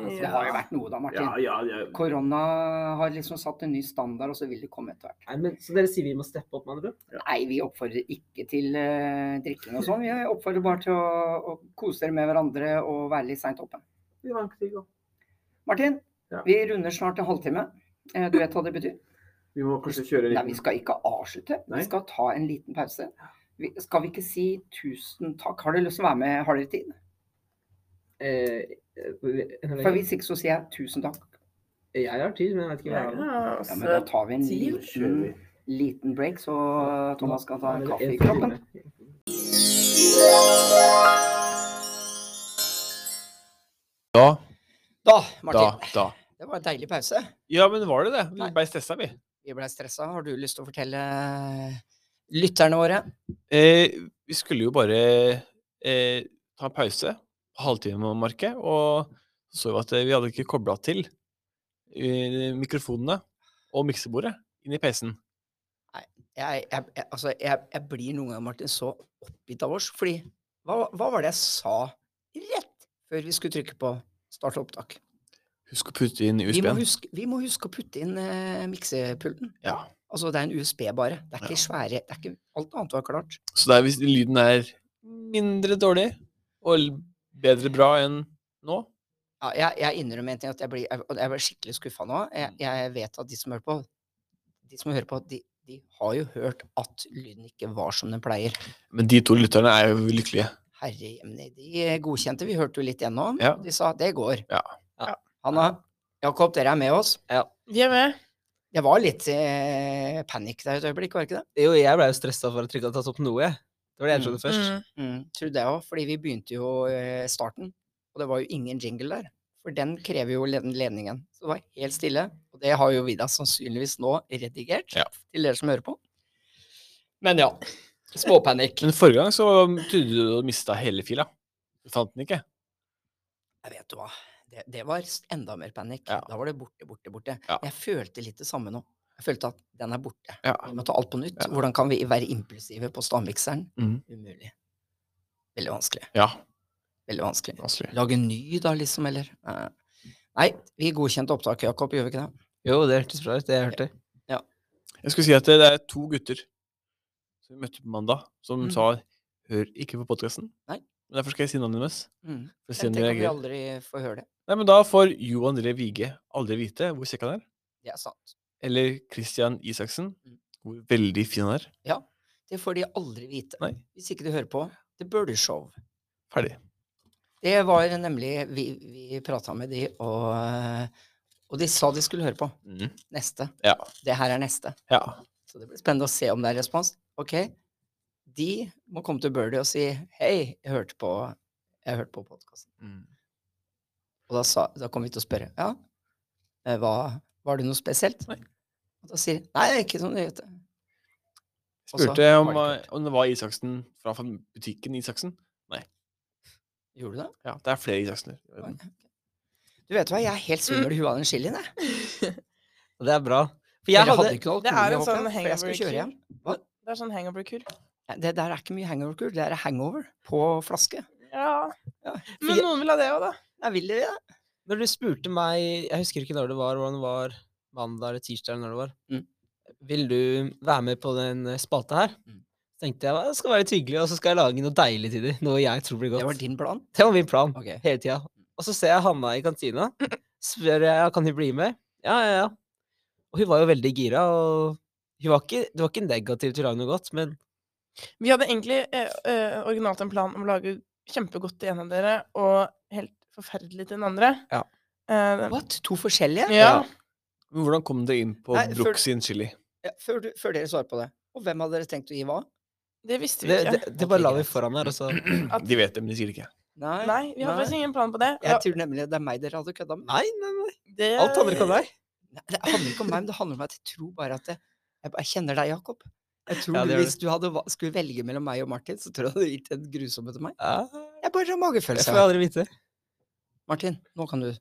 Speaker 4: Eh,
Speaker 2: Det har jo vært noe da,
Speaker 1: Ja,
Speaker 2: Martin.
Speaker 1: ja, ja.
Speaker 2: Korona har liksom satt en ny standard, og så vil det komme etter hvert.
Speaker 3: Nei, men, så dere sier vi må steppe opp, med andre ord?
Speaker 2: Nei, vi oppfordrer ikke til eh, drikking og sånn. Vi oppfordrer bare til å, å kose dere med hverandre og være litt seint oppe.
Speaker 1: Vi vant ikke, da.
Speaker 2: Martin,
Speaker 1: Ja.
Speaker 2: vi runder snart en halvtime. Eh, Du vet hva det betyr?
Speaker 1: Vi må kanskje kjøre
Speaker 2: Nei, vi
Speaker 1: litt
Speaker 2: skal ikke avslutte.
Speaker 1: Nei.
Speaker 2: Vi skal ta en liten pause. Vi, skal vi ikke si tusen takk? Har dere lyst til å være med? Har dere tid?
Speaker 3: Eh,
Speaker 2: For
Speaker 3: eh,
Speaker 2: hvis ikke så sier jeg tusen takk.
Speaker 3: jeg har tid, men jeg vet ikke hva jeg har.
Speaker 4: ja,
Speaker 2: Ja, men da
Speaker 4: altså,
Speaker 2: tar vi en
Speaker 4: Tid?
Speaker 1: Kjører
Speaker 2: liten,
Speaker 1: vi.
Speaker 2: liten break, så Thomas skal ta en
Speaker 3: Eller
Speaker 2: kaffe i
Speaker 3: for
Speaker 2: kroppen.
Speaker 3: time.
Speaker 5: Da, da,
Speaker 2: Da, Martin.
Speaker 5: da.
Speaker 2: Det var en deilig pause.
Speaker 5: Ja, men var det det? Vi
Speaker 2: Nei.
Speaker 5: ble stressa, vi.
Speaker 2: Vi blei stressa. Har du lyst til å fortelle eh, lytterne våre?
Speaker 5: Eh, vi skulle jo bare eh, ta en pause på halvtimemarket, og så så vi at eh, vi hadde ikke kobla til eh, mikrofonene og miksebordet inn i PC-en.
Speaker 2: jeg, jeg, jeg, altså, jeg, jeg blir noen ganger, Martin, så oppgitt av oss. Fordi hva, hva var det jeg sa rett før vi skulle trykke på start opptak?
Speaker 5: Husk å putte inn
Speaker 2: Vi må
Speaker 5: USB-en.
Speaker 2: huske, vi må huske å putte inn eh, miksepulten.
Speaker 5: Ja.
Speaker 2: Altså, det er en USB bare. Det er
Speaker 5: Ja.
Speaker 2: ikke svære det er ikke, Alt annet var klart.
Speaker 5: Så det er, hvis lyden er mindre dårlig og l- bedre bra enn nå
Speaker 2: Ja, jeg, jeg innrømmer en ting, at jeg blir, jeg, og jeg blir skikkelig skuffa nå. Jeg,
Speaker 5: Mm.
Speaker 2: jeg vet at de som hører på, de, som hører på de, de har jo hørt at lyden ikke var som den pleier.
Speaker 5: Men de to lytterne er jo lykkelige.
Speaker 2: Herre jemne, de eh, godkjente. Vi hørte jo litt gjennom.
Speaker 5: Ja.
Speaker 2: og De sa det går.
Speaker 5: Ja.
Speaker 4: Ja.
Speaker 2: Hanna, Jakob, dere er med oss.
Speaker 4: Vi er med.
Speaker 2: Det var litt eh, panikk der et øyeblikk, var det ikke det?
Speaker 3: Jo, jeg ble jo stressa for at det ikke hadde tatt opp noe. jeg. Det var det jeg trodde først.
Speaker 4: Mm.
Speaker 2: Mm. Tror du det òg? Fordi vi begynte jo eh, starten, og det var jo ingen jingle der. For den krever jo led- ledningen. Så det var helt stille. Og det har jo vi da sannsynligvis nå redigert
Speaker 5: Ja.
Speaker 2: til dere som hører på. Men ja. Småpanikk.
Speaker 5: Men forrige gang så trodde du du mista hele fila. Du fant den ikke.
Speaker 2: Jeg vet du hva. Det, det var s- enda mer panikk.
Speaker 5: Ja.
Speaker 2: Da var det borte, borte, borte.
Speaker 5: Ja.
Speaker 2: Jeg følte litt det samme nå. Jeg følte at den er borte.
Speaker 5: Ja.
Speaker 2: Vi må ta alt på nytt.
Speaker 5: Ja.
Speaker 2: Hvordan kan vi være impulsive på stavmikseren?
Speaker 5: Mhm.
Speaker 2: Umulig. Veldig vanskelig.
Speaker 5: Ja,
Speaker 2: Veldig vanskelig.
Speaker 5: vanskelig.
Speaker 2: Lage ny, da, liksom, eller? Eh, Nei, vi godkjente opptaket, Jakob, gjør vi ikke det?
Speaker 3: Jo, det hørtes bra ut. Det jeg hørte.
Speaker 5: Jeg skulle si at det er to gutter som vi møtte på mandag, som
Speaker 2: Mhm.
Speaker 5: sa 'hør ikke på podkasten'.
Speaker 2: Nei.
Speaker 5: Men derfor skal jeg si navnet deres.
Speaker 2: Mm.
Speaker 5: For å si om
Speaker 2: Tenk
Speaker 5: de
Speaker 2: om vi
Speaker 5: reagerer.
Speaker 2: aldri får høre det.
Speaker 5: Nei, men da får Jo André Vige aldri vite hvor kjekk han er.
Speaker 2: Det er sant.
Speaker 5: Eller Christian Isaksen,
Speaker 2: Mm.
Speaker 5: hvor veldig fin han er.
Speaker 2: Det får de aldri vite.
Speaker 5: Nei.
Speaker 2: Hvis ikke du hører på The Burder Show.
Speaker 5: Ferdig.
Speaker 2: Det var nemlig Vi, vi prata med de, og, eh, og de sa de skulle høre på.
Speaker 5: Mm.
Speaker 2: Neste.
Speaker 5: Ja.
Speaker 2: Det her er neste.
Speaker 5: Ja.
Speaker 2: Så det blir spennende å se om det er respons. Ok, de må komme til Birdie og si hei, jeg hørte på, jeg hørte på podkasten.
Speaker 5: Mm.
Speaker 2: Og da, sa, da kom vi til å spørre ja, eh, hva, var det noe spesielt?
Speaker 5: Nei.
Speaker 2: Og da sier de nei, det er ikke noe nyhet.
Speaker 5: Jeg
Speaker 2: Og så
Speaker 5: spurte om,
Speaker 2: var det
Speaker 5: eh, om det var Isaksen fra fam- butikken Isaksen.
Speaker 2: Gjorde du det?
Speaker 5: Ja, det er flere Isaksener. i verden.
Speaker 2: Du vet hva, jeg er helt svimmel i huet av den chilien, jeg.
Speaker 3: Og det er bra. For
Speaker 2: Dere
Speaker 3: jeg hadde
Speaker 2: hadde ikke noe
Speaker 4: Det er en
Speaker 2: alkohol i
Speaker 4: sånn
Speaker 2: håpet, for jeg skal kjøre hjem.
Speaker 4: hangover-kur.
Speaker 2: Hva?
Speaker 4: Det er sånn hangover-kur.
Speaker 2: Nei, Det der er ikke mye hangover-kur, det er hangover på flaske.
Speaker 4: Ja.
Speaker 2: Ja, for
Speaker 4: Men
Speaker 2: jeg-
Speaker 4: noen vil ha det òg, da.
Speaker 2: Jeg vil det, jeg.
Speaker 3: Når du spurte meg Jeg husker ikke når det var, hvordan det var mandag eller tirsdag eller når det var.
Speaker 2: Mm.
Speaker 3: Vil du være med på den eh, spalta her?
Speaker 2: Mm.
Speaker 3: Så tenkte jeg det skal være litt hyggelig, og så skal jeg lage noe deilig til dem. Noe jeg tror blir godt.
Speaker 2: Det var din plan.
Speaker 3: Det var min plan
Speaker 2: Ok.
Speaker 3: hele tida. Og så ser jeg Hanna i kantina. Spør jeg «Ja, kan hun bli med. Ja, ja, ja. Og hun var jo veldig gira, og hun var ikke, det var ikke negativt til å lage noe godt, men
Speaker 4: Vi hadde egentlig eh, eh, originalt en plan om å lage kjempegodt til en av dere og helt forferdelig til den andre.
Speaker 3: Ja.
Speaker 4: Eh,
Speaker 2: What? To forskjellige?
Speaker 4: ja.
Speaker 5: Men hvordan kom dere inn på
Speaker 2: Nei, før-
Speaker 5: Brooks sin chili?
Speaker 2: Ja, før, du, før dere svarer på det. Og hvem hadde dere tenkt å gi hva?
Speaker 4: Det visste vi
Speaker 3: det,
Speaker 4: ikke.
Speaker 3: det, det bare la vi foran her, og så
Speaker 4: At-
Speaker 5: De vet det, men de sier det ikke.
Speaker 2: Nei,
Speaker 4: Nei, vi har faktisk ingen plan på det.
Speaker 2: Jeg tror nemlig det er meg dere hadde kødda med.
Speaker 3: Nei, nei, nei.
Speaker 4: det
Speaker 3: Alt handler ikke om deg.
Speaker 2: Nei, Det handler ikke om meg, men det handler om at jeg tror bare at jeg, jeg, bare kjenner deg, Jakob. Jeg tror
Speaker 3: Ja,
Speaker 2: du,
Speaker 3: det gjør
Speaker 2: Hvis du hadde, va- skulle velge mellom meg og Martin, så tror jeg du hadde gitt den grusomme til meg.
Speaker 3: Ja,
Speaker 2: Jeg bare har
Speaker 3: det
Speaker 2: magefølelse.
Speaker 3: får jeg aldri vite.
Speaker 2: Martin, nå kan du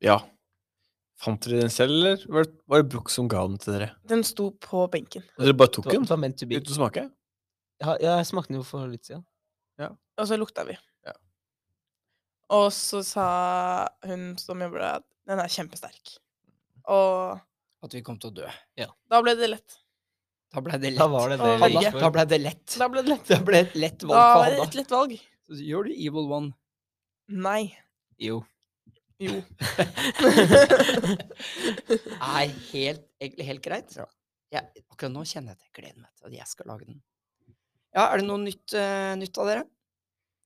Speaker 5: Ja. Fant dere den selv, eller var det, var det Brooks som ga den til dere?
Speaker 4: Den sto på benken.
Speaker 5: Og dere bare tok
Speaker 3: Det var-
Speaker 5: den
Speaker 3: det var meant to be.
Speaker 5: uten å smake?
Speaker 3: Ja, ja, jeg smakte den jo for litt siden.
Speaker 4: Og så lukta vi.
Speaker 5: Ja.
Speaker 4: Og så sa hun som jobber der, at den er kjempesterk. Og
Speaker 2: At vi kom til å dø.
Speaker 4: da ble det lett.
Speaker 2: Da blei det lett.
Speaker 3: Da var det det.
Speaker 4: Å,
Speaker 3: vi
Speaker 2: Hanna,
Speaker 3: gikk
Speaker 4: Norge.
Speaker 3: for.
Speaker 2: da ble det lett.
Speaker 4: Da ble det lett.
Speaker 2: Det ble et lett
Speaker 4: Da
Speaker 2: valg for
Speaker 4: var det
Speaker 2: Hanna.
Speaker 4: et lett valg.
Speaker 2: Så Gjør du evil one?
Speaker 4: Nei.
Speaker 3: Jo. *laughs*
Speaker 4: Jo.
Speaker 2: Er helt, egentlig helt greit. Jeg, akkurat nå kjenner jeg at jeg gleder meg til at jeg skal lage den. Ja, er det noe nytt, eh, nytt av dere?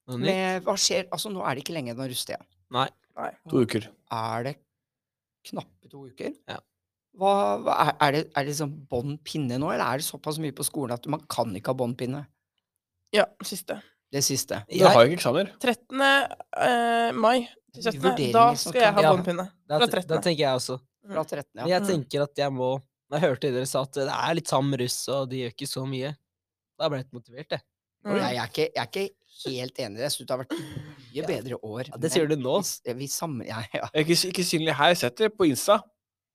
Speaker 3: Noe nytt?
Speaker 2: Med, hva skjer? Altså, nå er det ikke lenge igjen av rusttida.
Speaker 3: Nei.
Speaker 5: To uker.
Speaker 2: Er det knappe to uker?
Speaker 3: Ja.
Speaker 2: Hva, hva er, er det, er det liksom bånd pinne nå, eller er det såpass mye på skolen at man kan ikke ha bånd pinne?
Speaker 4: Ja, siste.
Speaker 2: Det siste.
Speaker 5: Dere har
Speaker 3: Jeg,
Speaker 5: jo ikke eksamener.
Speaker 4: 13. eh, mai til 17. Da
Speaker 2: Vurderinger som
Speaker 4: skal
Speaker 2: kan-
Speaker 4: jeg ha
Speaker 3: Ja.
Speaker 4: båndpinne.
Speaker 3: da,
Speaker 4: fra
Speaker 3: te- da
Speaker 4: 13.
Speaker 3: tenker jeg også.
Speaker 2: Fra 13,
Speaker 3: Men
Speaker 2: ja.
Speaker 3: jeg tenker at jeg må Jeg hørte dere sa at det er litt tam russ, og de gjør ikke så mye. Da ble jeg litt motivert, jeg.
Speaker 2: Nei,
Speaker 4: Mm.
Speaker 2: jeg, er ikke, jeg er ikke helt enig. i det. Jeg syns det har vært mye bedre år.
Speaker 3: Ja, det sier du nå.
Speaker 2: Vi, vi sammen... Ja, ja.
Speaker 5: Jeg er Eh, ikke, ikke synlig her. Jeg har sett dere på Insta.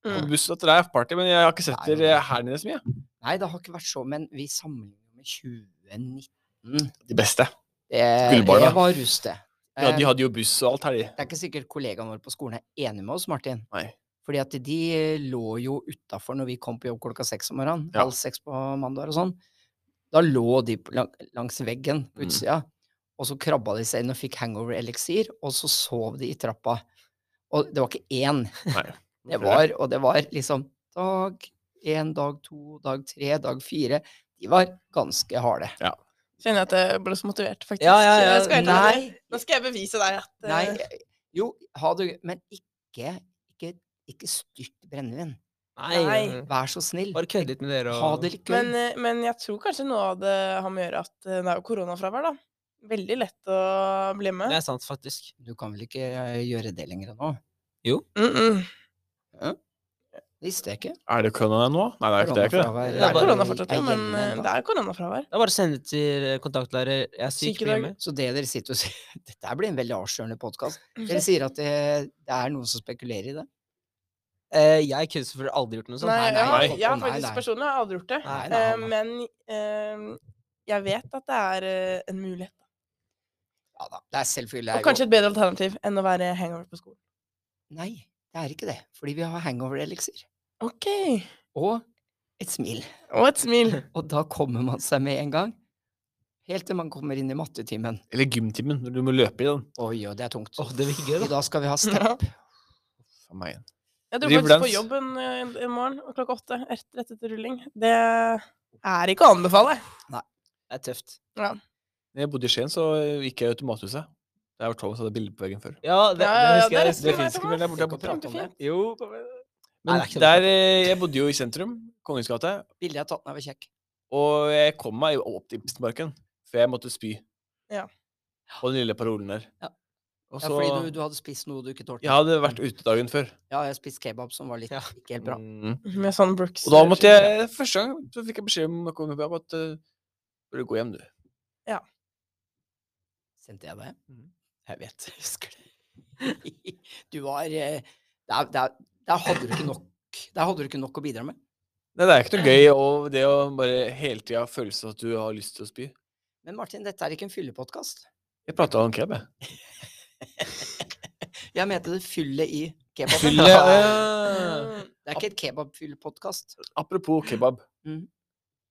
Speaker 5: På
Speaker 4: Mm.
Speaker 5: bussen at dere er party, men jeg har ikke sett
Speaker 2: Nei,
Speaker 5: dere
Speaker 2: men-
Speaker 5: her nede så mye.
Speaker 2: Nei, det har ikke vært så, men vi sammenligner med 2019.
Speaker 5: De beste.
Speaker 2: Det,
Speaker 5: Gullbarna.
Speaker 2: det var rust, det.
Speaker 5: Ja,
Speaker 2: Eh,
Speaker 5: de hadde jo buss og alt her, de.
Speaker 2: Det er ikke sikkert kollegaene våre på skolen er enig med oss, Martin.
Speaker 5: Nei.
Speaker 2: Fordi at de lå jo utafor når vi kom på jobb klokka seks om morgenen.
Speaker 5: Ja.
Speaker 2: Halv seks på mandag og sånn. Da lå de på lang, langs veggen på
Speaker 5: Mm.
Speaker 2: utsida. Og så krabba de seg inn og fikk hangover eliksir, og så sov de i trappa. Og det var ikke én.
Speaker 5: Nei.
Speaker 2: *laughs* Det var, og det var liksom dag én, dag to, dag tre, dag fire. De var ganske harde.
Speaker 4: Kjenner jeg at jeg ble så motivert, faktisk.
Speaker 3: Ja, ja, ja.
Speaker 4: Jeg skal helt ærlig.
Speaker 2: Nei,
Speaker 4: Nå skal jeg bevise deg at eh,
Speaker 2: Nei, jeg- jo, ha det gøy, men ikke, ikke, ikke styrt brennevin.
Speaker 3: Nei,
Speaker 4: Nei.
Speaker 3: eh,
Speaker 2: Vær så snill.
Speaker 3: bare kødde litt med dere
Speaker 2: Ha
Speaker 3: og
Speaker 2: det litt
Speaker 4: Men,
Speaker 2: gøy.
Speaker 4: eh, men jeg tror kanskje noe av det har med å gjøre at eh, det er jo koronafravær, da. Veldig lett å bli
Speaker 3: Det
Speaker 4: med.
Speaker 3: er sant, faktisk.
Speaker 2: Du kan vel ikke eh, gjøre det lenger nå?
Speaker 4: Mm -mm.
Speaker 2: Visste jeg ikke.
Speaker 1: Er det korona nå? Nei, det er ikke det. Er ikke det.
Speaker 2: Koronafravær
Speaker 3: Det
Speaker 4: Det er
Speaker 3: bare-
Speaker 4: korona fortsatt, ja,
Speaker 2: er
Speaker 4: men
Speaker 2: gjeldende
Speaker 4: eh,
Speaker 2: enda.
Speaker 4: det er koronafravær.
Speaker 3: Det er bare å sende til eh, kontaktlærer. Jeg er syk,
Speaker 4: Syk i
Speaker 3: bli
Speaker 4: dag.
Speaker 3: hjemme.
Speaker 2: Så det dere sitter og sier *laughs* Dette her blir en veldig avslørende podkast. Dere sier at det, det er noen som spekulerer i det.
Speaker 3: Eh, jeg kunne selvfølgelig aldri gjort noe sånt.
Speaker 4: Nei,
Speaker 2: sånn nei,
Speaker 4: jeg har-
Speaker 1: nei.
Speaker 4: jeg har
Speaker 2: Nei,
Speaker 4: faktisk
Speaker 2: nei.
Speaker 4: personlig har jeg aldri gjort det.
Speaker 2: Nei, nei,
Speaker 4: Eh,
Speaker 2: nei.
Speaker 4: Men eh, jeg vet at det er eh, en mulighet.
Speaker 2: Ja da, det er selvfølgelig
Speaker 4: Og kanskje et bedre alternativ enn å være hangover på skolen.
Speaker 2: Nei, det er ikke det. Fordi vi har hangover-eliksir.
Speaker 4: Ok.
Speaker 2: Og et smil.
Speaker 4: Og et smil.
Speaker 2: Og da kommer man seg med en gang. Helt til man kommer inn i mattetimen.
Speaker 1: Eller gymtimen, når du må løpe i den.
Speaker 2: Oi, oi, det er tungt.
Speaker 3: Åh, det virker gøy,
Speaker 2: *laughs* I
Speaker 3: da.
Speaker 2: dag skal vi ha
Speaker 4: Ja.
Speaker 2: step.
Speaker 1: Faen meg igjen.
Speaker 4: Jeg dro
Speaker 1: Driver
Speaker 4: faktisk på
Speaker 1: dans.
Speaker 4: jobb en, en, en morgen klokka åtte rett, rett etter rulling. Det er ikke å anbefale.
Speaker 3: Det er tøft.
Speaker 1: Når jeg bodde i Skien, så gikk jeg i automathuset. Der var Thomas hadde bilde på veggen før.
Speaker 3: Ja, det,
Speaker 4: Ja, ja, ja,
Speaker 3: det husker
Speaker 4: der
Speaker 3: jeg.
Speaker 4: husker
Speaker 1: Det
Speaker 4: jeg
Speaker 1: fins
Speaker 4: meg,
Speaker 1: ikke mer der borte.
Speaker 4: Thomas.
Speaker 1: der borte.
Speaker 4: Kjempefint.
Speaker 3: Jo. Nei,
Speaker 1: Men
Speaker 3: det er ikke det.
Speaker 1: der, eh, jeg bodde jo i sentrum, Kongens gate,
Speaker 2: Bildet jeg har tatt med, var kjekk.
Speaker 1: og jeg kom meg jo opp til Ibsenparken før jeg måtte spy.
Speaker 4: Ja.
Speaker 1: På den lille parolen der.
Speaker 2: Ja.
Speaker 1: Og
Speaker 2: Ja,
Speaker 1: så,
Speaker 2: fordi du, du hadde spist noe du ikke tålte.
Speaker 1: Jeg hadde vært ute dagen før.
Speaker 2: Ja, jeg spiste kebab som var litt
Speaker 3: Ja.
Speaker 2: ikke helt bra.
Speaker 1: Mm.
Speaker 4: Med sånn Brooks.
Speaker 1: Og da måtte jeg Første gang så fikk jeg beskjed om å komme opp at eh, burde gå hjem, du.
Speaker 2: Sendte jeg det?
Speaker 1: Mhm.
Speaker 2: Jeg vet, jeg husker det. *laughs* Du var eh, Der, der, der hadde du ikke nok Der hadde du ikke nok å bidra med.
Speaker 1: Nei, det er ikke noe gøy å, det å bare hele tida føle seg at du har lyst til å spy.
Speaker 2: Men Martin, dette er ikke en fyllepodkast.
Speaker 1: Jeg prata om kebab, jeg.
Speaker 2: Jeg mente det fyllet i kebaben. *laughs*
Speaker 1: *laughs* Fylle, ja.
Speaker 4: Mm.
Speaker 2: Det er ikke et kebabfyllepodkast.
Speaker 1: eh, Apropos kebab.
Speaker 2: Mhm.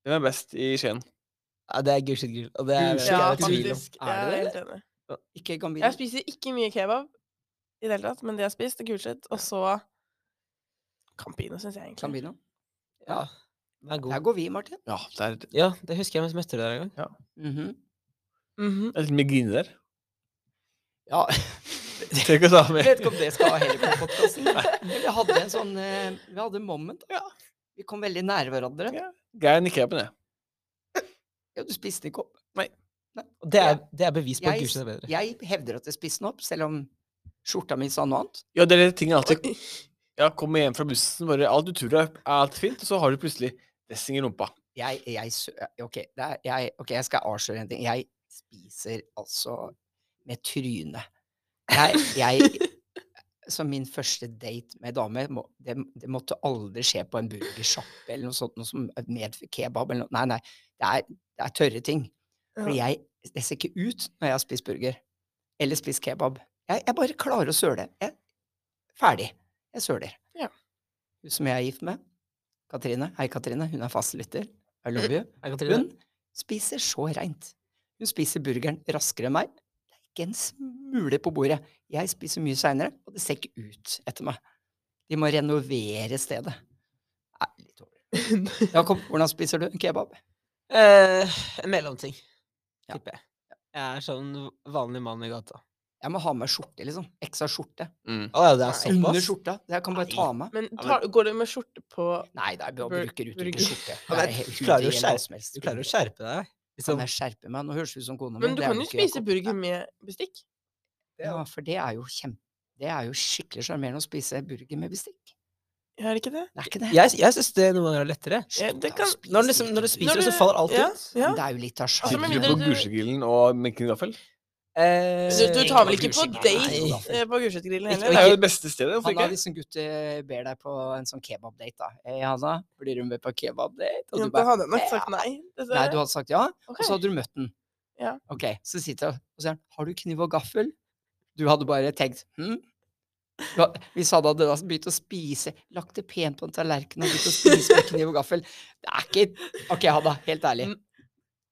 Speaker 1: Hvem er best i Skien?
Speaker 3: Ja, det er gudskjelov gull. Og det er
Speaker 2: Gudskjelov.
Speaker 4: Ja,
Speaker 3: det er jeg i tvil om.
Speaker 4: faktisk.
Speaker 2: Er det
Speaker 4: Jeg er
Speaker 2: det,
Speaker 4: helt enig.
Speaker 2: Ikke Gambino.
Speaker 4: Jeg spiser ikke mye kebab i det hele tatt, men det jeg har spist, er gulskjøtt. Og så Campino, syns jeg egentlig.
Speaker 2: Gambino.
Speaker 3: Ja, den er
Speaker 2: Der
Speaker 3: god.
Speaker 2: går vi, Martin.
Speaker 1: Ja, det er
Speaker 3: Ja, det husker jeg mens jeg møtte dere der en gang.
Speaker 2: Mhm.
Speaker 4: Mhm.
Speaker 1: det er litt mye grine der.
Speaker 2: Ja, *laughs*
Speaker 1: Trenger ikke å ta
Speaker 2: jeg
Speaker 1: med.
Speaker 2: vet ikke om det skal heller på podkasten. Vi hadde en sånn eh, Vi hadde en moment. da. Vi kom veldig nære hverandre.
Speaker 1: Ja. Gæren i kebaben, jeg.
Speaker 2: Ja, du spiste ikke opp.
Speaker 3: Og det er, det er bevis på at
Speaker 2: Jeg-
Speaker 3: gudskjelov er bedre.
Speaker 2: Jeg hevder at jeg spiste den opp, selv om skjorta mi sa noe annet.
Speaker 1: Ja, det er det ting jeg alltid Ja, kommer hjem fra bussen, bare alt du tror er er alt fint, og så har du plutselig dressing i rumpa.
Speaker 2: jeg, jeg, sø- ok, det er, jeg, ok, jeg skal avsløre en ting. Jeg spiser altså med trynet. Jeg, jeg, så min første date med dame, må- det, det måtte aldri skje på en burgersjappe eller noe sånt, noe som med kebab eller noe. Nei, nei, det er, det er tørre ting. For
Speaker 4: Ja.
Speaker 2: jeg, det ser ikke ut når jeg har spist burger eller spist kebab. Jeg, jeg bare klarer å søle. Jeg, ferdig. Jeg søler.
Speaker 4: Ja.
Speaker 2: Hun som jeg er gift med, Katrine. Hei, Katrine. Hun er fastlytter. I love you.
Speaker 3: Jeg kan tro det.
Speaker 2: Hun spiser så reint. Hun spiser burgeren raskere enn meg. Det er ikke en smule på bordet. Jeg spiser mye seinere, og det ser ikke ut etter meg. De må renovere stedet. Nei, litt over. Jakob, hvordan spiser du kebab?
Speaker 3: Eh, en mellomting,
Speaker 2: Ja.
Speaker 3: tipper jeg. Jeg er sånn vanlig mann i gata.
Speaker 2: Jeg må ha med skjorte, liksom. Ekstra skjorte.
Speaker 1: Mm.
Speaker 3: Å ja, det er
Speaker 2: Under
Speaker 3: såpass?
Speaker 2: skjorta. Det Jeg kan bare ta med.
Speaker 4: Men tar, går det med skjorte på
Speaker 2: Nei, det er bare
Speaker 4: Bur-
Speaker 2: bruker
Speaker 4: burger.
Speaker 2: uttrykket skjorte.
Speaker 3: Ja,
Speaker 2: Det
Speaker 3: men
Speaker 2: er helt
Speaker 3: du klarer jo
Speaker 2: utenkelig
Speaker 3: å skjerpe-
Speaker 2: som helst.
Speaker 3: Du klarer å skjerpe deg.
Speaker 2: Kan
Speaker 3: Liksom,
Speaker 2: jeg skjerpe meg? Nå høres du ut som kona mi.
Speaker 4: Men du
Speaker 2: det er
Speaker 4: kan
Speaker 2: du
Speaker 4: jo
Speaker 2: ikke,
Speaker 4: spise
Speaker 2: Jakob.
Speaker 4: burger med bestikk.
Speaker 2: Ja, for det er jo kjempe... Det er jo skikkelig sjarmerende å spise burger med bestikk.
Speaker 4: Gjør det ikke det?
Speaker 2: Det er ikke det.
Speaker 3: jeg jeg syns det noen ganger er lettere.
Speaker 4: Ja,
Speaker 2: Slutt
Speaker 4: det
Speaker 2: å
Speaker 4: kan-
Speaker 2: spise
Speaker 3: Når, du liksom, når du
Speaker 2: burger.
Speaker 3: spiser
Speaker 4: Når
Speaker 3: det,
Speaker 4: du-
Speaker 3: så faller alt
Speaker 4: Ja,
Speaker 3: ut.
Speaker 2: Men
Speaker 4: ja.
Speaker 2: Det er jo litt av
Speaker 4: Altså,
Speaker 2: sjarmen.
Speaker 4: men
Speaker 1: Sitter du
Speaker 4: mindre
Speaker 1: på
Speaker 4: du-
Speaker 1: Gulsegrillen og mekken gaffel?
Speaker 3: Eh,
Speaker 4: Så du tar vel
Speaker 2: ikke
Speaker 4: ikke på
Speaker 2: på
Speaker 4: date
Speaker 2: Gulset.
Speaker 4: eh, på Gulset-grillen
Speaker 3: Ikke-
Speaker 1: Det
Speaker 4: heller?
Speaker 1: er jo det beste stedet. Hvorfor
Speaker 2: Hanna,
Speaker 1: ikke?
Speaker 2: hvis en gutt eh, ber deg på en sånn kebabdate, da. Hei, Hanna, blir du med på kebabdate? Og
Speaker 4: Ja,
Speaker 2: du
Speaker 4: Da
Speaker 2: bare
Speaker 4: hadde jeg nok sagt nei.
Speaker 2: Nei, du altså,
Speaker 4: dessverre.
Speaker 2: hadde sagt ja,
Speaker 4: Ok.
Speaker 2: og så hadde du møtt den.
Speaker 4: Ja.
Speaker 2: Ok, så sitter han og sier han, har du kniv og gaffel? Du hadde bare tenkt, hm? Du had- Hvis han hadde da begynt å spise, lagt det pent på en tallerken og begynt å spise med kniv og gaffel, det er ikke, ok Hanna, helt ærlig,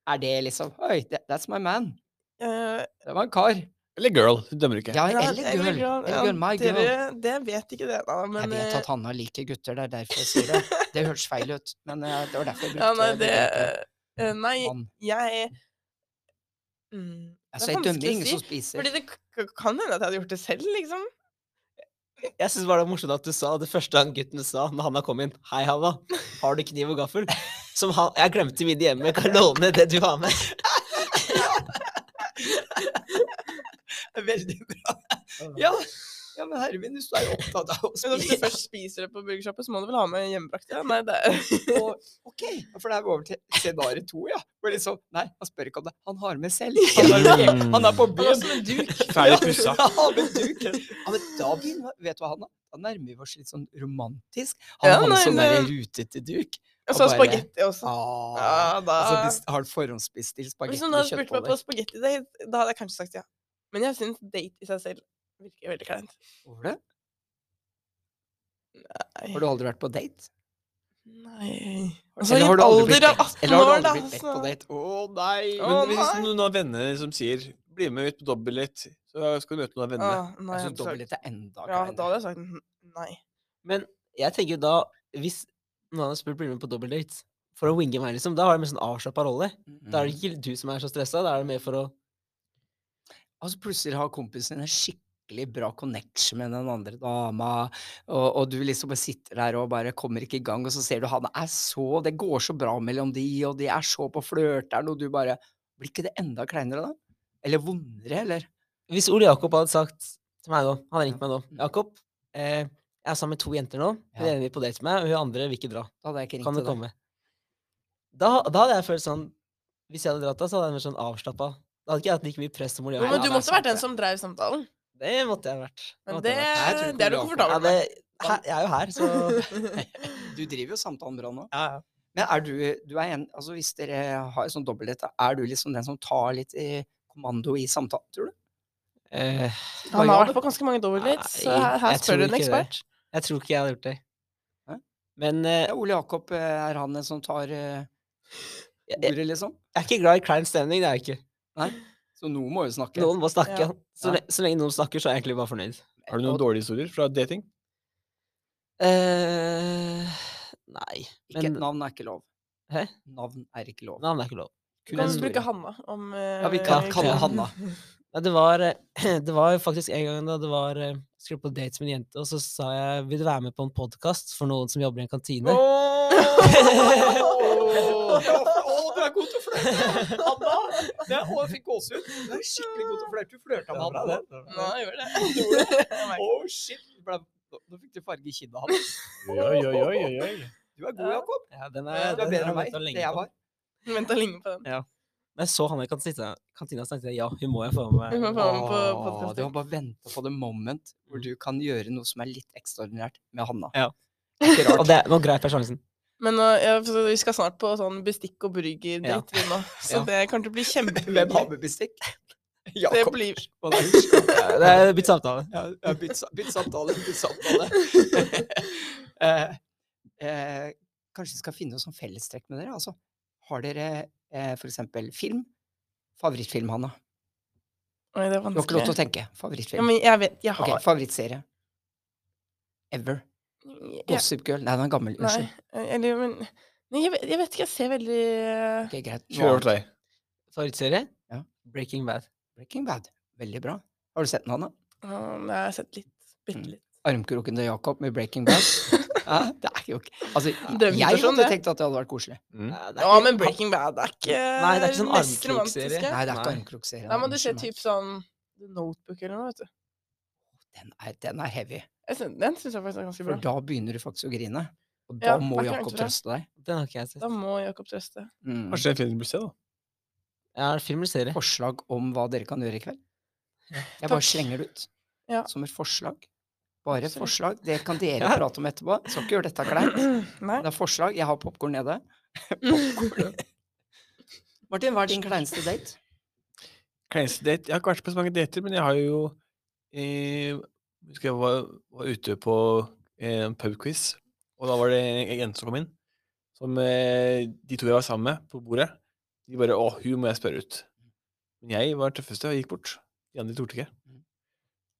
Speaker 2: er det liksom, oi, that- that's my man,
Speaker 4: Eh,
Speaker 2: det var en kar.
Speaker 1: Eller girl. Hun dømmer ikke.
Speaker 2: Ja,
Speaker 4: ja,
Speaker 2: eller
Speaker 4: eller
Speaker 2: girl,
Speaker 4: girl,
Speaker 2: eller
Speaker 4: ja,
Speaker 2: girl, my girl.
Speaker 4: Dere, det vet ikke dere, da.
Speaker 2: Jeg
Speaker 4: Men
Speaker 2: vet
Speaker 4: eh,
Speaker 2: at Hanna liker gutter, det er derfor jeg sier det. Det høres feil ut, men eh, det var derfor jeg brukte
Speaker 4: ja, nei, det
Speaker 2: begrepet
Speaker 4: eh, Nei,
Speaker 2: mann.
Speaker 4: jeg mm,
Speaker 2: Altså,
Speaker 4: det er
Speaker 2: jeg dømmer
Speaker 4: vanskelig å
Speaker 2: ingen
Speaker 4: si,
Speaker 2: som spiser.
Speaker 4: Fordi det k- kan hende at jeg hadde gjort det selv, liksom.
Speaker 3: Jeg syns bare det var morsomt at du sa det første han gutten sa når han kom inn. 'Hei, Hanna. Har du kniv og gaffel?' Som han Jeg glemte min hjemme. Jeg kan låne det du har med.
Speaker 2: Veldig bra. Ja, ja men herre min, hvis du er jo opptatt av å
Speaker 4: Men
Speaker 2: *laughs*
Speaker 3: altså,
Speaker 4: når du
Speaker 2: spise
Speaker 4: først spiser det på burgersjappe, så må du vel ha med hjemmebrakt? Ja, nei, det *laughs* er
Speaker 2: og, Ok, for det er over til scenario to, ja. Hvor liksom, nei, han spør ikke om det. Han har med selv. Han har,
Speaker 4: *laughs*
Speaker 2: med,
Speaker 1: Mm.
Speaker 2: han er på
Speaker 4: Han har
Speaker 2: byen.
Speaker 4: som en duk.
Speaker 1: Ferdig pussa.
Speaker 2: *laughs* Ja, han med duk. Ja, men da begynner vi- Vet du hva, Hanna? Da nærmer vi oss litt sånn romantisk. Han
Speaker 4: Ja,
Speaker 2: har med
Speaker 4: nei,
Speaker 2: sånn
Speaker 4: det-
Speaker 2: der rutete duk.
Speaker 4: Og så
Speaker 2: Og bare-
Speaker 4: spagetti også.
Speaker 2: Ah,
Speaker 4: Ja, da
Speaker 2: altså, best- har han forhåndsbestilt
Speaker 4: Hvis
Speaker 2: spagetti
Speaker 4: noen hadde
Speaker 2: og
Speaker 4: spurt meg på
Speaker 2: kjøttboller?
Speaker 4: spagetti-date, da hadde jeg kanskje sagt ja. Men jeg syns date i seg selv virker veldig kleint.
Speaker 2: Hvorfor det?
Speaker 4: Nei.
Speaker 2: Har du aldri vært på date?
Speaker 4: Nei Altså,
Speaker 2: Eller
Speaker 4: i
Speaker 2: har
Speaker 4: en
Speaker 2: du aldri
Speaker 4: alder
Speaker 2: blitt
Speaker 4: av
Speaker 2: bedt?
Speaker 4: 18
Speaker 2: Eller har du
Speaker 4: år, da.
Speaker 2: aldri
Speaker 4: Altså,
Speaker 2: blitt bedt på
Speaker 4: så-
Speaker 2: date? Å nei!
Speaker 4: Å,
Speaker 1: Men hvis
Speaker 4: nei.
Speaker 1: noen av vennene som sier 'bli med ut på dobbeltlitt', så skal du møte noen av vennene.
Speaker 4: Ah,
Speaker 2: Jeg
Speaker 4: nei, jeg
Speaker 2: syns
Speaker 4: hadde sagt-
Speaker 2: dobbelthet er enda
Speaker 4: Ja, da
Speaker 2: greiere.
Speaker 4: hadde jeg sagt n- nei.
Speaker 3: Men jeg tenker jo da, hvis noen hadde spurt bli med på dobbeldate for å winge meg, liksom, da var det mer sånn avslappa rolle. Da er det ikke du som er så stressa, da er det mer for å
Speaker 2: Altså plutselig har kompisen din en skikkelig bra connection med den andre dama, og, og du liksom bare sitter der og bare kommer ikke i gang, og så ser du han er så Det går så bra mellom de, og de er så på flørteren, og du bare Blir ikke det enda kleinere da? Eller vondere, eller?
Speaker 3: Hvis Ole Jakob hadde sagt til meg nå Han hadde ringt meg nå. 'Jakob, eh, jeg er sammen med to jenter nå. Hun
Speaker 2: Ja.
Speaker 3: ene vil på date med meg, og hun andre vil ikke dra.
Speaker 2: Da hadde jeg ikke ringt
Speaker 3: Kan du
Speaker 2: til deg.
Speaker 3: komme? Da, da hadde jeg følt sånn Hvis jeg hadde dratt da, så hadde jeg vært sånn avslappa. Da hadde ikke jeg hatt like mye press som Ole
Speaker 4: Jo,
Speaker 3: Jakob.
Speaker 4: men
Speaker 2: ja,
Speaker 4: du
Speaker 2: det er
Speaker 4: måtte
Speaker 2: sant,
Speaker 4: vært den
Speaker 2: det.
Speaker 4: som drev samtalen.
Speaker 3: Det måtte jeg vært.
Speaker 4: Men
Speaker 3: måtte
Speaker 4: det,
Speaker 3: jeg vært.
Speaker 2: Nei, jeg tror ikke
Speaker 4: det er du
Speaker 2: Ole Jakob-
Speaker 3: ja,
Speaker 4: komfortabel
Speaker 3: det,
Speaker 4: med.
Speaker 3: her, Jeg er jo
Speaker 2: *laughs*
Speaker 3: her, så
Speaker 4: *laughs*
Speaker 2: Du driver jo samtalen bra nå.
Speaker 3: ja, ja.
Speaker 2: Men er du, du er en, altså hvis dere har en sånn dobbelthet, da, er du liksom den som tar litt eh, kommando i samtalen, tror du?
Speaker 3: Eh,
Speaker 2: Hva
Speaker 4: Han
Speaker 2: gjør du?
Speaker 4: har vært på ganske mange dobbeltdates, så
Speaker 3: Nei,
Speaker 4: her, her
Speaker 3: jeg
Speaker 4: spør
Speaker 3: tror
Speaker 4: du en
Speaker 3: ikke det.
Speaker 4: ekspert.
Speaker 3: Jeg tror ikke jeg hadde gjort det.
Speaker 2: Hæ?
Speaker 3: Men eh,
Speaker 2: Ja, Ole Jakob, eh, er han den som tar eh,
Speaker 3: jeg, jeg
Speaker 2: ordet, liksom?
Speaker 3: er ikke glad i klein stemning, det er jeg ikke.
Speaker 2: Så noen må jo snakke.
Speaker 3: Noen må snakke.
Speaker 4: Ja.
Speaker 3: Så,
Speaker 2: Ja.
Speaker 3: le, så lenge noen snakker, så er jeg egentlig bare fornøyd.
Speaker 1: Har du noen dårlige historier fra dating?
Speaker 3: Eh, nei.
Speaker 2: Ikke,
Speaker 3: men-
Speaker 2: Navn er ikke lov.
Speaker 3: Hæ?
Speaker 2: Navn er ikke lov.
Speaker 3: Navn er ikke lov.
Speaker 4: Du
Speaker 3: Men-
Speaker 4: kan bruke Hanna om
Speaker 2: Ja, vi kan
Speaker 3: eh,
Speaker 2: kalle
Speaker 3: ja.
Speaker 2: han
Speaker 4: *laughs*
Speaker 3: *laughs*
Speaker 2: Hanna.
Speaker 3: Nei, det var, eh, *clears throat* det var faktisk en gang da det var eh, jeg skulle på dates med en jente, og så sa jeg vil du være med på en podkast for noen som jobber i en kantine.
Speaker 2: du er god til å flørte! Anna! Det er, å, jeg fikk gåsehud. Du er skikkelig god til å flørte. Du flørta med Anna.
Speaker 4: Nå gjør det.
Speaker 2: Å,
Speaker 4: *laughs*
Speaker 2: shit! Ble- Nå nå fikk du farge i kinnet hans.
Speaker 1: Oi, oi, oi, oi, oi.
Speaker 2: Du er god, Jakob.
Speaker 3: Ja, den
Speaker 4: Ja,
Speaker 2: Du Eh,
Speaker 3: er,
Speaker 2: er
Speaker 3: den
Speaker 2: bedre
Speaker 3: har
Speaker 2: enn meg.
Speaker 3: ventet lenge
Speaker 2: Det jeg
Speaker 3: på.
Speaker 2: var.
Speaker 4: Venta lenge på den.
Speaker 3: Når jeg så han i kantina, kantina så tenkte jeg ja, hun må jeg få med
Speaker 4: Hun må få med
Speaker 3: meg.
Speaker 4: på
Speaker 2: Åh, Du
Speaker 4: podkasten.
Speaker 2: må bare vente på det moment hvor du kan gjøre noe som er litt ekstraordinært med Hanna.
Speaker 3: Ja.
Speaker 2: Det er Ikke
Speaker 3: Og
Speaker 2: rart.
Speaker 3: *laughs* det, nå greip jeg sjansen.
Speaker 4: Men nå, ja, så vi skal snart på sånn bestikk og burger-date, vi nå. Så
Speaker 2: Ja.
Speaker 4: det
Speaker 2: *laughs*
Speaker 4: kommer til å bli
Speaker 2: Hvem har
Speaker 4: kjempehyggelig.
Speaker 2: *laughs* med *laughs* bestikk?
Speaker 4: Det
Speaker 2: Jakob.
Speaker 4: blir
Speaker 2: Hva er det?
Speaker 3: *laughs* Ja, Det *laughs* er Bytt samtale.
Speaker 2: Ja, ja, bytt, sa- bytt samtale, bytt samtale. *laughs* eh, eh, kanskje vi skal finne noe sånn fellestrekk med dere, altså. Har dere eh, for eksempel film? Favorittfilm, Hanna.
Speaker 4: Oi, det er
Speaker 2: Du har ikke lov til
Speaker 4: vanskelig.
Speaker 2: å tenke.
Speaker 4: Ja,
Speaker 2: Favorittfilm.
Speaker 4: men jeg vet Jeg
Speaker 2: Ok,
Speaker 4: har
Speaker 2: favorittserie. Ever.
Speaker 4: jeg,
Speaker 2: Gossip Girl. Nei, den er gammel.
Speaker 4: Nei,
Speaker 2: Unnskyld.
Speaker 4: eller men Nei, jeg vet, jeg vet ikke. Jeg ser veldig eh,
Speaker 2: Ok, greit. Noe
Speaker 1: Kjør over
Speaker 2: annet.
Speaker 1: til deg.
Speaker 3: Favorittserie?
Speaker 2: Ja.
Speaker 3: Breaking Bad.
Speaker 2: Breaking Bad. Veldig bra. Har du sett den, Hanna?
Speaker 4: um, Jeg har sett litt. Bitte
Speaker 2: Mm.
Speaker 4: litt.
Speaker 2: Armkroken til Jacob med Breaking Bad.
Speaker 4: *laughs*
Speaker 2: ja, det er jo ikke Altså,
Speaker 4: Det er
Speaker 2: jeg
Speaker 4: sånn,
Speaker 2: hadde
Speaker 4: det.
Speaker 2: tenkt at det hadde vært koselig.
Speaker 1: Mm.
Speaker 3: Ja, det er
Speaker 4: Ja,
Speaker 3: ikke-
Speaker 4: men Breaking Bad er ikke
Speaker 3: Nei, det er ikke sånn
Speaker 4: mest
Speaker 3: armkrokserie.
Speaker 4: romantiske.
Speaker 2: Nei, det er ikke
Speaker 3: Nei.
Speaker 2: armkrokserien.
Speaker 4: Da må du se
Speaker 2: unnskyld meg.
Speaker 4: typ sånn The Notebook eller noe, vet du.
Speaker 2: Den er, den er heavy.
Speaker 4: Jeg syn- Den syns jeg faktisk er
Speaker 2: For
Speaker 4: ganske bra.
Speaker 2: da begynner du faktisk å grine. Og da
Speaker 4: Ja,
Speaker 2: må
Speaker 4: det er
Speaker 2: Jakob
Speaker 4: ikke rart for deg.
Speaker 2: trøste deg.
Speaker 3: Den har ikke jeg sett.
Speaker 4: Da må Jakob trøste.
Speaker 2: Mm.
Speaker 1: Kanskje det er en film du vil se, da.
Speaker 3: Ja, er det film eller serie?
Speaker 2: Forslag om hva dere kan gjøre i kveld? Jeg
Speaker 4: Takk.
Speaker 2: bare slenger det ut.
Speaker 4: Ja.
Speaker 2: Som et forslag. Bare
Speaker 4: Absolutt.
Speaker 2: forslag. Det kan
Speaker 4: *laughs*
Speaker 2: dere
Speaker 3: Ja.
Speaker 2: prate om etterpå. Skal ikke gjøre dette kleint.
Speaker 4: *clears throat* Nei.
Speaker 2: Det er forslag. Jeg har popkorn nede.
Speaker 4: *laughs*
Speaker 2: Martin, hva er din kleineste date?
Speaker 1: Kleineste date Jeg har ikke vært på så mange dater, men jeg har jo eh, husker jeg var, var ute på eh, en pubquiz, og da var det en jente som kom inn, som eh, de to jeg var sammen med på bordet, de bare 'Å, hun må jeg spørre ut'. Men jeg var den tøffeste og gikk bort. De andre torde ikke.
Speaker 2: Mhm.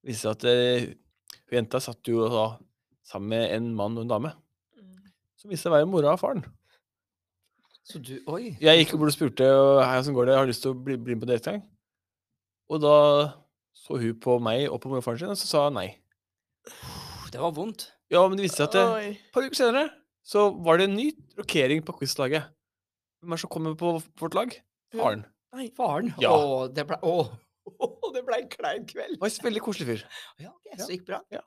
Speaker 1: Det viste seg at eh, hun jenta satt jo da sammen med en mann og en dame, som viste seg å være mora og faren.
Speaker 2: Så du Oi.
Speaker 1: Jeg gikk bort og spurte og hei, hvordan går det, har du lyst til å bli, bli med på date? en gang?» Og da så hun på meg og på morfaren sin, og så sa hun nei.
Speaker 2: Uff, det var vondt.
Speaker 1: Ja, men det viste seg at eh,
Speaker 4: Oi.
Speaker 1: et par uker senere så var det en ny rokering på quizlaget. Hvem er det som kommer på vårt lag? Faren.
Speaker 4: Nei.
Speaker 2: Faren.
Speaker 1: Ja.
Speaker 2: Å, det ble, å, *laughs* det ble en klein kveld.
Speaker 1: Han var en veldig koselig fyr.
Speaker 2: Ja, ok,
Speaker 1: Ja.
Speaker 2: så gikk bra.
Speaker 1: Ja.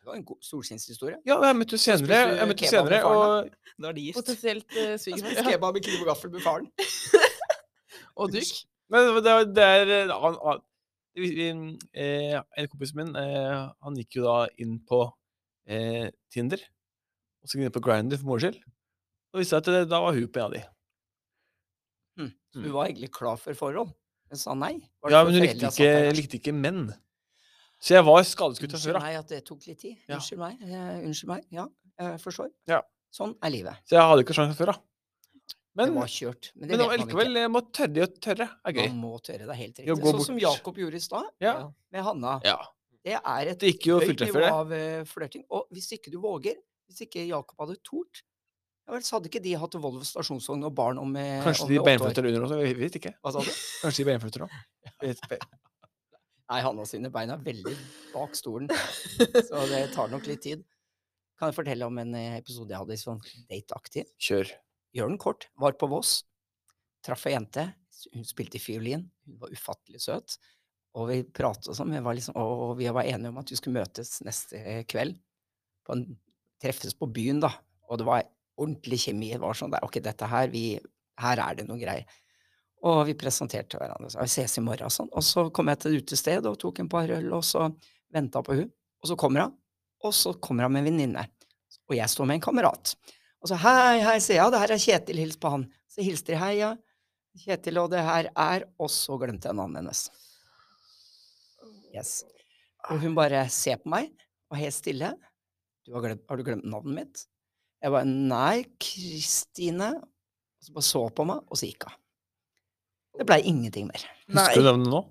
Speaker 2: Det var en god solskinnshistorie.
Speaker 1: Ja, og jeg møtte jo senere,
Speaker 2: spiste du
Speaker 1: jeg møtte jo
Speaker 2: kebab med
Speaker 1: senere
Speaker 2: faren,
Speaker 1: og
Speaker 2: Da er de
Speaker 4: Potensielt uh, svigermor.
Speaker 2: Spiste
Speaker 4: Ja.
Speaker 2: kebab med kniv og gaffel med faren.
Speaker 4: Og duk.
Speaker 1: Nei, det, var- det, var- det er eh, han, han, vi, vi, eh, En kompis min, eh, han gikk jo da inn på eh, Tinder. Og så gikk han inn på Grindr for moro skyld. Og det viste seg at det, da var hun på en av de.
Speaker 2: Du var egentlig klar for forhold, men sa nei. Var det
Speaker 1: Ja,
Speaker 2: for
Speaker 1: men hun
Speaker 2: foreldre altså?
Speaker 1: likte
Speaker 2: satt der,
Speaker 1: ikke,
Speaker 2: da?
Speaker 1: likte ikke menn. Så jeg var skadeskutt fra
Speaker 2: Unnskyld
Speaker 1: før av.
Speaker 2: meg at det tok litt tid.
Speaker 1: Ja.
Speaker 2: Unnskyld meg. eh, unnskyld meg. Ja, jeg forstår.
Speaker 1: Ja.
Speaker 2: Sånn er livet.
Speaker 1: Så jeg hadde ikke sjansen før, da. Men,
Speaker 2: det var kjørt. Men det
Speaker 1: men
Speaker 2: vet man ikke.
Speaker 1: likevel, jeg må tørre det å tørre. er gøy.
Speaker 2: Man må tørre, det er helt
Speaker 1: Ja,
Speaker 2: riktig.
Speaker 1: gå
Speaker 2: Sånn som
Speaker 1: bort.
Speaker 2: Jakob gjorde i stad,
Speaker 1: Ja.
Speaker 2: med Hanna.
Speaker 1: ja.
Speaker 2: Det er et
Speaker 1: Det gikk jo
Speaker 2: høyt
Speaker 1: fulltreffer,
Speaker 2: nivå
Speaker 1: det.
Speaker 2: av eh, flørting. Og hvis ikke du våger, hvis ikke Jakob hadde tort, ja vel, så hadde ikke de hatt Volvo stasjonsvogn og barn om, eh,
Speaker 1: Kanskje
Speaker 2: om
Speaker 1: de
Speaker 2: åtte år.
Speaker 1: beinflytter under også. Vi vet ikke.
Speaker 2: Hva sa du?
Speaker 1: Kanskje de beinflytter nå. Vi vet ikke.
Speaker 2: Nei, Hanna sine bein er veldig bak
Speaker 1: *laughs*
Speaker 2: stolen, så det tar nok litt tid. Kan jeg fortelle om en eh, episode jeg hadde sånn dateaktig?
Speaker 1: Kjør.
Speaker 2: Gjør den kort. Var på Voss. Traff ei jente. s- Hun spilte fiolin. Hun var ufattelig søt. Og vi pratet og sånn, men var liksom, og vi var enige om at vi skulle møtes neste eh, kveld. På en, treffes på byen, da. Og det var ordentlig kjemi. Det var sånn der, ok, dette her, vi, her er det noe greier. Og vi presenterte hverandre. Så, vi ses i morgen og sånn. Og så kom jeg til et utested og tok en par øl, og så venta på hun. Og så kommer hun. Og så kommer hun med en venninne. Og jeg står med en kamerat. Og så hei, hei, sier jeg, og det her er Kjetil, hils på han. Så hilste de hei, ja. Kjetil, og det her er Og så glemte jeg navnet hennes. Yes. Og hun bare ser på meg, og helt stille. Du har, glemt, har du glemt navnet mitt? Jeg bare nei, Kristine. Og så bare så på meg, og så gikk hun. Det blei ingenting mer.
Speaker 4: Nei.
Speaker 1: Husker du navnet nå?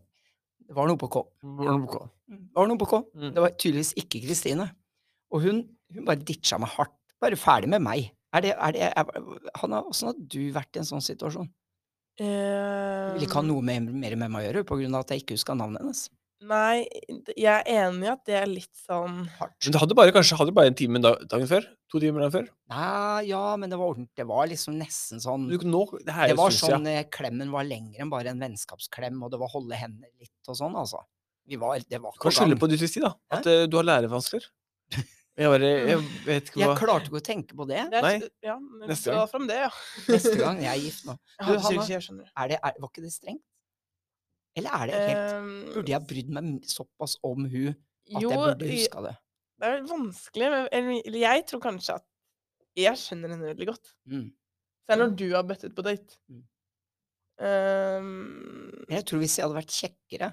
Speaker 2: Det var noe på K.
Speaker 1: Hvordan boka?
Speaker 2: Det var noe på K.
Speaker 1: Mm.
Speaker 2: Det var tydeligvis ikke Kristine. Og hun, hun bare ditcha meg hardt. Bare ferdig med meg. Er det, er det, er, Hanna, åssen har du vært i en sånn situasjon? Du vil ikke ha
Speaker 4: Ehm,
Speaker 2: noe mer, mer med meg å gjøre på grunn av at jeg ikke huska navnet hennes.
Speaker 4: Nei, d- jeg er enig i at det er litt sånn
Speaker 2: Hardt.
Speaker 1: Men du hadde bare, kanskje hadde du bare en time da- dagen før? To timer dagen før?
Speaker 2: Nei, ja, men det var ordentlig. Det var liksom nesten sånn
Speaker 1: Du, nå, det her
Speaker 2: Det
Speaker 1: er jo
Speaker 2: var
Speaker 1: stund siden.
Speaker 2: sånn eh, klemmen var lengre enn bare en vennskapsklem, og det var holde hender litt og sånn, altså. Vi var, det var
Speaker 1: Du kan
Speaker 2: på
Speaker 1: skylde
Speaker 2: gang.
Speaker 1: på ditt si, da. At eh, du har lærevansker. Jeg bare
Speaker 2: *laughs*
Speaker 1: Jeg vet ikke
Speaker 2: Jeg
Speaker 1: hva
Speaker 2: klarte ikke å tenke på det
Speaker 4: det er,
Speaker 1: Nei,
Speaker 4: s- Ja, men
Speaker 1: neste
Speaker 4: dra fram det, ja.
Speaker 2: neste gang jeg er gift nå.
Speaker 4: Jeg
Speaker 2: Du,
Speaker 4: hadde
Speaker 2: Hanna,
Speaker 4: sikkert ikke- jeg skjønner.
Speaker 2: Er det, er, var ikke det strengt? Eller er det helt
Speaker 4: Ehm,
Speaker 2: Burde jeg brydd meg m- såpass om hun at
Speaker 4: jo,
Speaker 2: jeg burde
Speaker 4: i-
Speaker 2: huska det?
Speaker 4: Det er vanskelig, men eller- eller jeg tror kanskje at jeg skjønner henne veldig godt.
Speaker 2: Mm.
Speaker 4: Selv når du har bøtt ut på date.
Speaker 2: Mm.
Speaker 4: Ehm,
Speaker 2: Men Jeg tror hvis jeg hadde vært kjekkere,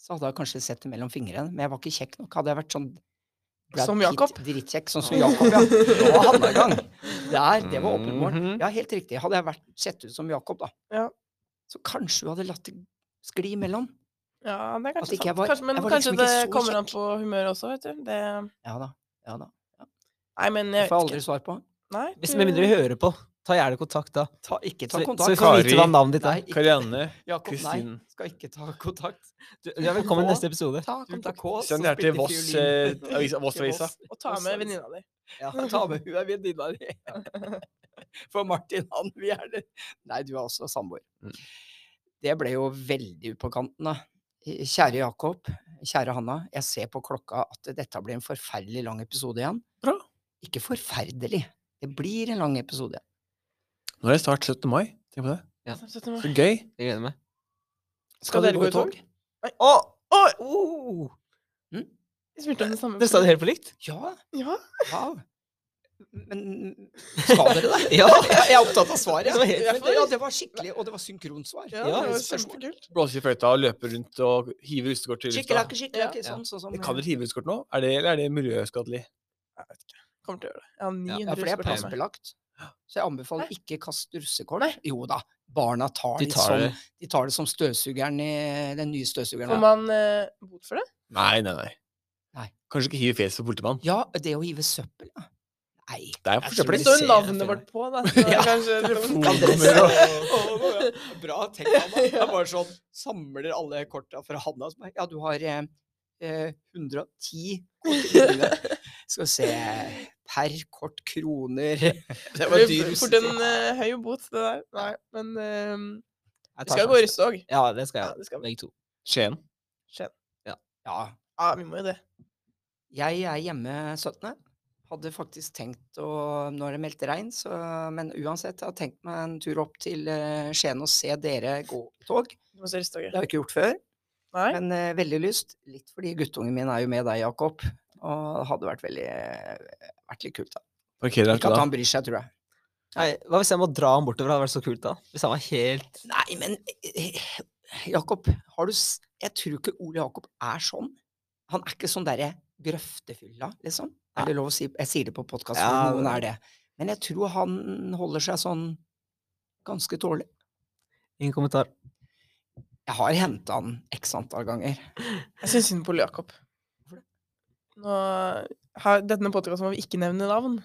Speaker 2: så hadde jeg kanskje sett det mellom fingrene. Men jeg var ikke kjekk nok. Hadde jeg vært sånn Brad
Speaker 4: Som
Speaker 2: Pitt,
Speaker 4: Jakob?
Speaker 2: Drittkjekk, sånn som Jakob, ja. Nå var han i gang. Der, det var åpen mål.
Speaker 1: Mhm.
Speaker 2: Ja, helt riktig. Hadde jeg vært, sett ut som Jakob, da,
Speaker 4: Ja.
Speaker 2: så kanskje hun hadde latt det skli imellom.
Speaker 4: ja, det er
Speaker 2: At ikke jeg
Speaker 4: kanskje sant.
Speaker 2: var-
Speaker 4: Kanskje, men
Speaker 2: jeg var
Speaker 4: kanskje
Speaker 2: liksom ikke
Speaker 4: det
Speaker 2: så
Speaker 4: kommer an
Speaker 2: kjekk.
Speaker 4: på humøret også, vet du. Det,
Speaker 2: Ja da. Ja da.
Speaker 4: nei, men
Speaker 2: Det får jeg
Speaker 4: jeg vet
Speaker 2: aldri
Speaker 4: ikke.
Speaker 2: svar på.
Speaker 4: Nei,
Speaker 3: Hvis med mindre vi hører på, ta gjerne kontakt da.
Speaker 2: Ta, ikke
Speaker 3: Så,
Speaker 2: ta
Speaker 3: så vi
Speaker 2: kontakt.
Speaker 1: kan-
Speaker 3: får vite hva
Speaker 1: Kari.
Speaker 3: navnet ditt
Speaker 2: Nei,
Speaker 3: er.
Speaker 2: ikke, *laughs*
Speaker 1: Karianne
Speaker 2: Jakob, nei.
Speaker 1: Kristin.
Speaker 2: Skal ikke ta kontakt.
Speaker 3: Du, du er velkommen i neste episode.
Speaker 2: Ta kontakt. K, så
Speaker 1: Send det her til
Speaker 2: spilte
Speaker 1: Voss eh,
Speaker 2: fiolin.
Speaker 1: avisa. Voss
Speaker 2: Til
Speaker 1: avisa.
Speaker 2: Voss.
Speaker 4: Og ta
Speaker 2: Og
Speaker 4: med
Speaker 2: så-
Speaker 4: venninna di.
Speaker 2: Ja, ta med hun er venninna di. For Martin, han vil gjerne Nei, du er også samboer.
Speaker 1: Mm.
Speaker 2: Det ble jo veldig ut på kanten, da. Kjære Jakob, kjære Hanna. Jeg ser på klokka at dette blir en forferdelig lang episode igjen.
Speaker 1: Bra.
Speaker 2: Ikke forferdelig. Det blir en lang episode.
Speaker 1: Nå er det snart 17. mai. Tenk på det.
Speaker 3: Ja.
Speaker 1: Så gøy.
Speaker 3: Jeg gleder meg.
Speaker 4: Skal dere gå i tog?
Speaker 3: Å!
Speaker 2: Oh!
Speaker 4: Jeg spurte om det samme.
Speaker 3: Dere sa det helt på likt?
Speaker 2: Ja,
Speaker 4: Ja.
Speaker 2: wow. Men skal *laughs* dere det?
Speaker 3: Ja.
Speaker 2: Jeg er opptatt av svaret.
Speaker 3: Det var helt
Speaker 2: Men det- ja, det var skikkelig, og det var synkronsvar.
Speaker 4: Ja,
Speaker 3: Ja,
Speaker 4: det var
Speaker 2: spørsmål.
Speaker 4: kjempekult.
Speaker 1: Blåser i fløyta og løper rundt og hiver russekort til lufta.
Speaker 2: Skikkelake, skikkelake,
Speaker 3: Ja.
Speaker 2: sånn, sånn som
Speaker 1: Det Kan dere hive russekort nå? Er det, eller er det miljøskadelig?
Speaker 4: Jeg vet ikke. Kommer til å gjøre det. Jeg har
Speaker 3: Ja,
Speaker 4: 900
Speaker 2: Ja, for det er
Speaker 4: spørsmål.
Speaker 2: plassbelagt. Så jeg anbefaler
Speaker 4: Hæ?
Speaker 2: ikke kast russekort. Jo da, barna tar,
Speaker 3: De
Speaker 2: de
Speaker 3: tar det.
Speaker 2: som, de tar det som støvsugeren i den nye støvsugeren. her.
Speaker 4: Får man eh, bot for det?
Speaker 1: Nei, nei, nei.
Speaker 2: Nei.
Speaker 1: Kanskje ikke hive fjeset på politimannen.
Speaker 2: Ja, det å hive søppel, ja. Nei.
Speaker 1: Det er jo
Speaker 2: Jeg
Speaker 1: sånn for
Speaker 2: tror
Speaker 4: Det
Speaker 1: søppel.
Speaker 2: vi
Speaker 4: står jo
Speaker 2: ser
Speaker 4: navnet
Speaker 2: etter
Speaker 4: vårt
Speaker 2: det. *laughs*
Speaker 4: på, da. Så det er kanskje *laughs*
Speaker 1: Telefonnummeret og-
Speaker 2: Bra tenkt, Hanna. *laughs* Det er bare sånn, samler alle *laughs* korta fra Hanna. som er, Ja, du har eh, eh, 110 kort i livet. Skal vi se Per kort kroner.
Speaker 1: Det
Speaker 2: var
Speaker 1: var
Speaker 2: dyr
Speaker 1: dyr
Speaker 4: Fort en eh, høy bot, det der. Nei, men eh,
Speaker 3: Jeg
Speaker 4: vi
Speaker 3: tar
Speaker 4: skal gå
Speaker 3: sjansen.
Speaker 4: russetog.
Speaker 3: Ja, det skal
Speaker 4: Ja,
Speaker 3: jeg.
Speaker 4: det skal vi.
Speaker 3: Begge to.
Speaker 1: Skien.
Speaker 2: Ja.
Speaker 4: Ja, Ah, vi må jo det.
Speaker 2: Jeg er hjemme 17. Hadde faktisk tenkt å Nå har det meldt regn, så Men uansett, jeg har tenkt meg en tur opp til eh, Skien og se dere gå tog.
Speaker 4: Vi må se russetog.
Speaker 2: Det har jeg ikke gjort før,
Speaker 4: Nei?
Speaker 2: men eh, veldig lyst. Litt fordi guttungen min er jo med deg, Jakob. Og det hadde vært veldig vært litt kult, da.
Speaker 1: Parkerer
Speaker 2: Ikke at
Speaker 1: her
Speaker 2: han bryr seg, tror jeg.
Speaker 3: Nei, hva hvis jeg må dra han bortover? Det hadde vært så kult, da. Hvis han var helt
Speaker 2: Nei, men eh, Jakob, har du s- Jeg tror ikke Ole Jakob er sånn. Han er ikke sånn derre grøftefylla, liksom. Er det lov å si? Jeg sier det på podkast,
Speaker 3: Ja,
Speaker 2: noen
Speaker 3: det-
Speaker 2: er det. Men jeg tror han holder seg sånn ganske tålelig.
Speaker 3: Ingen kommentar.
Speaker 2: Jeg har henta han x antall ganger.
Speaker 4: Jeg syns synd på Ole Jakob. Nå har denne podkasten må vi ikke nevne navn.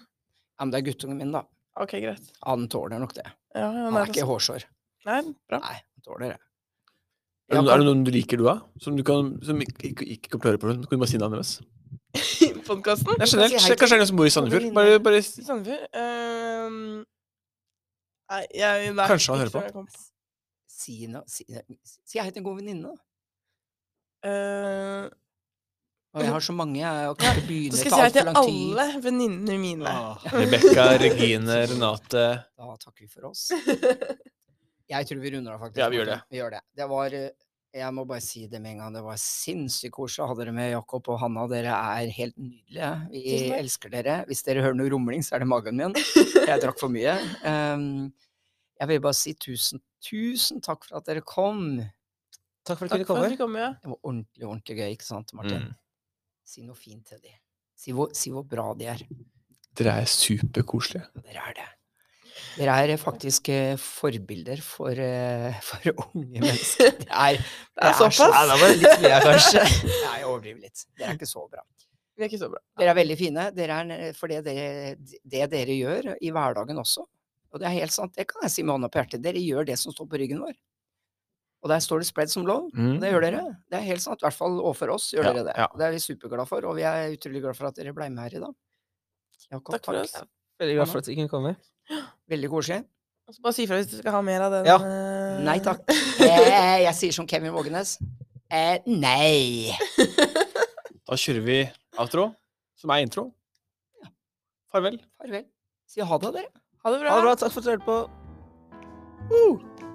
Speaker 2: Ja, men det er guttungen min, da.
Speaker 4: Ok, greit.
Speaker 2: Han tåler nok det.
Speaker 4: Ja, ja,
Speaker 2: Han
Speaker 4: nei,
Speaker 2: er ikke hårsår.
Speaker 4: Nei,
Speaker 2: *laughs*
Speaker 4: bra.
Speaker 2: Nei, han tåler det.
Speaker 1: Er det,
Speaker 2: Jakob-
Speaker 1: er det noen du liker, du, da? Som du kan, som ikke, ikke, ikke kan klare på den? Kan du bare si navnet deres?
Speaker 4: Podkasten
Speaker 2: kan
Speaker 1: Nei, generelt.
Speaker 2: si hei
Speaker 1: Kanskje
Speaker 2: til-
Speaker 1: det er noen som bor i Sandefjord? Bare, bare s-
Speaker 4: i Sandefjord ehm, Nei, jeg nei,
Speaker 1: Kanskje han hører
Speaker 4: ikke
Speaker 1: på.
Speaker 4: fra jeg kom.
Speaker 2: Si, no, si, si hei til en god venninne, da.
Speaker 4: Eh,
Speaker 2: Og jeg har så mange, jeg kan ikke begynne
Speaker 4: Så skal
Speaker 2: å ta
Speaker 4: jeg si hei til
Speaker 2: altfor lang tid.
Speaker 4: alle venninnene mine.
Speaker 1: Ah. Rebekka, Regine, Renate
Speaker 2: Da takker vi for
Speaker 4: *laughs*
Speaker 2: oss. Jeg tror vi runder av, faktisk.
Speaker 1: Ja, vi gjør
Speaker 2: Martin. Vi gjør det. det var, eh, jeg må bare si det med en gang, det var sinnssykt koselig å ha dere med, Jakob og Hanna. Dere er helt nydelige. Vi
Speaker 4: Tusen takk.
Speaker 2: elsker dere. Hvis dere hører noe rumling, så er det magen
Speaker 4: *laughs*
Speaker 2: min. Jeg drakk for mye. Ehm, jeg vil bare si tusen, tusen takk for at dere kom.
Speaker 3: Takk for at
Speaker 4: Takk
Speaker 3: du kunne
Speaker 4: for at du
Speaker 3: komme.
Speaker 4: kom, ja.
Speaker 2: Det var ordentlig, ordentlig gøy, ikke sant, Martin?
Speaker 1: mm.
Speaker 2: Si noe fint til dem. Si hvor, si hvor bra de er.
Speaker 1: Dere er superkoselige.
Speaker 2: Dere er det. Dere er eh, faktisk eh, forbilder for, eh, *laughs* for unge mennesker. *laughs* Det er,
Speaker 4: Det er såpass.
Speaker 2: Nei, det var
Speaker 3: *laughs*
Speaker 2: litt mye, kanskje. *laughs* Nei, jeg overdriver litt. Dere er ikke så bra.
Speaker 4: Vi er ikke så bra.
Speaker 2: Dere er veldig fine dere er, n- for det dere, det dere gjør i hverdagen også. Og det er helt sant, det kan jeg si med hånda på hjertet. Dere gjør det som står på ryggen vår. Og der står det 'spread som low'. Og det gjør dere. Det er helt sant. I hvert fall overfor oss gjør
Speaker 1: Ja,
Speaker 2: dere det.
Speaker 1: ja.
Speaker 2: Det er vi superglade for, og vi er utrolig glad for at dere ble med her i dag. Jakob,
Speaker 4: Takk for oss.
Speaker 3: Veldig glad for at du kunne komme.
Speaker 2: Veldig koselig.
Speaker 4: Og så bare si ifra hvis du skal ha mer av den.
Speaker 3: Ja.
Speaker 4: eh,
Speaker 2: Nei takk. *laughs* Eh, jeg sier som Kevin Vågenes. Eh, nei.
Speaker 1: Da kjører vi outro, som er intro. Farvel.
Speaker 2: Farvel. Si ha det, dere.
Speaker 4: Ha det bra.
Speaker 3: Ha det bra. Takk for at du hørte på.
Speaker 4: Uh!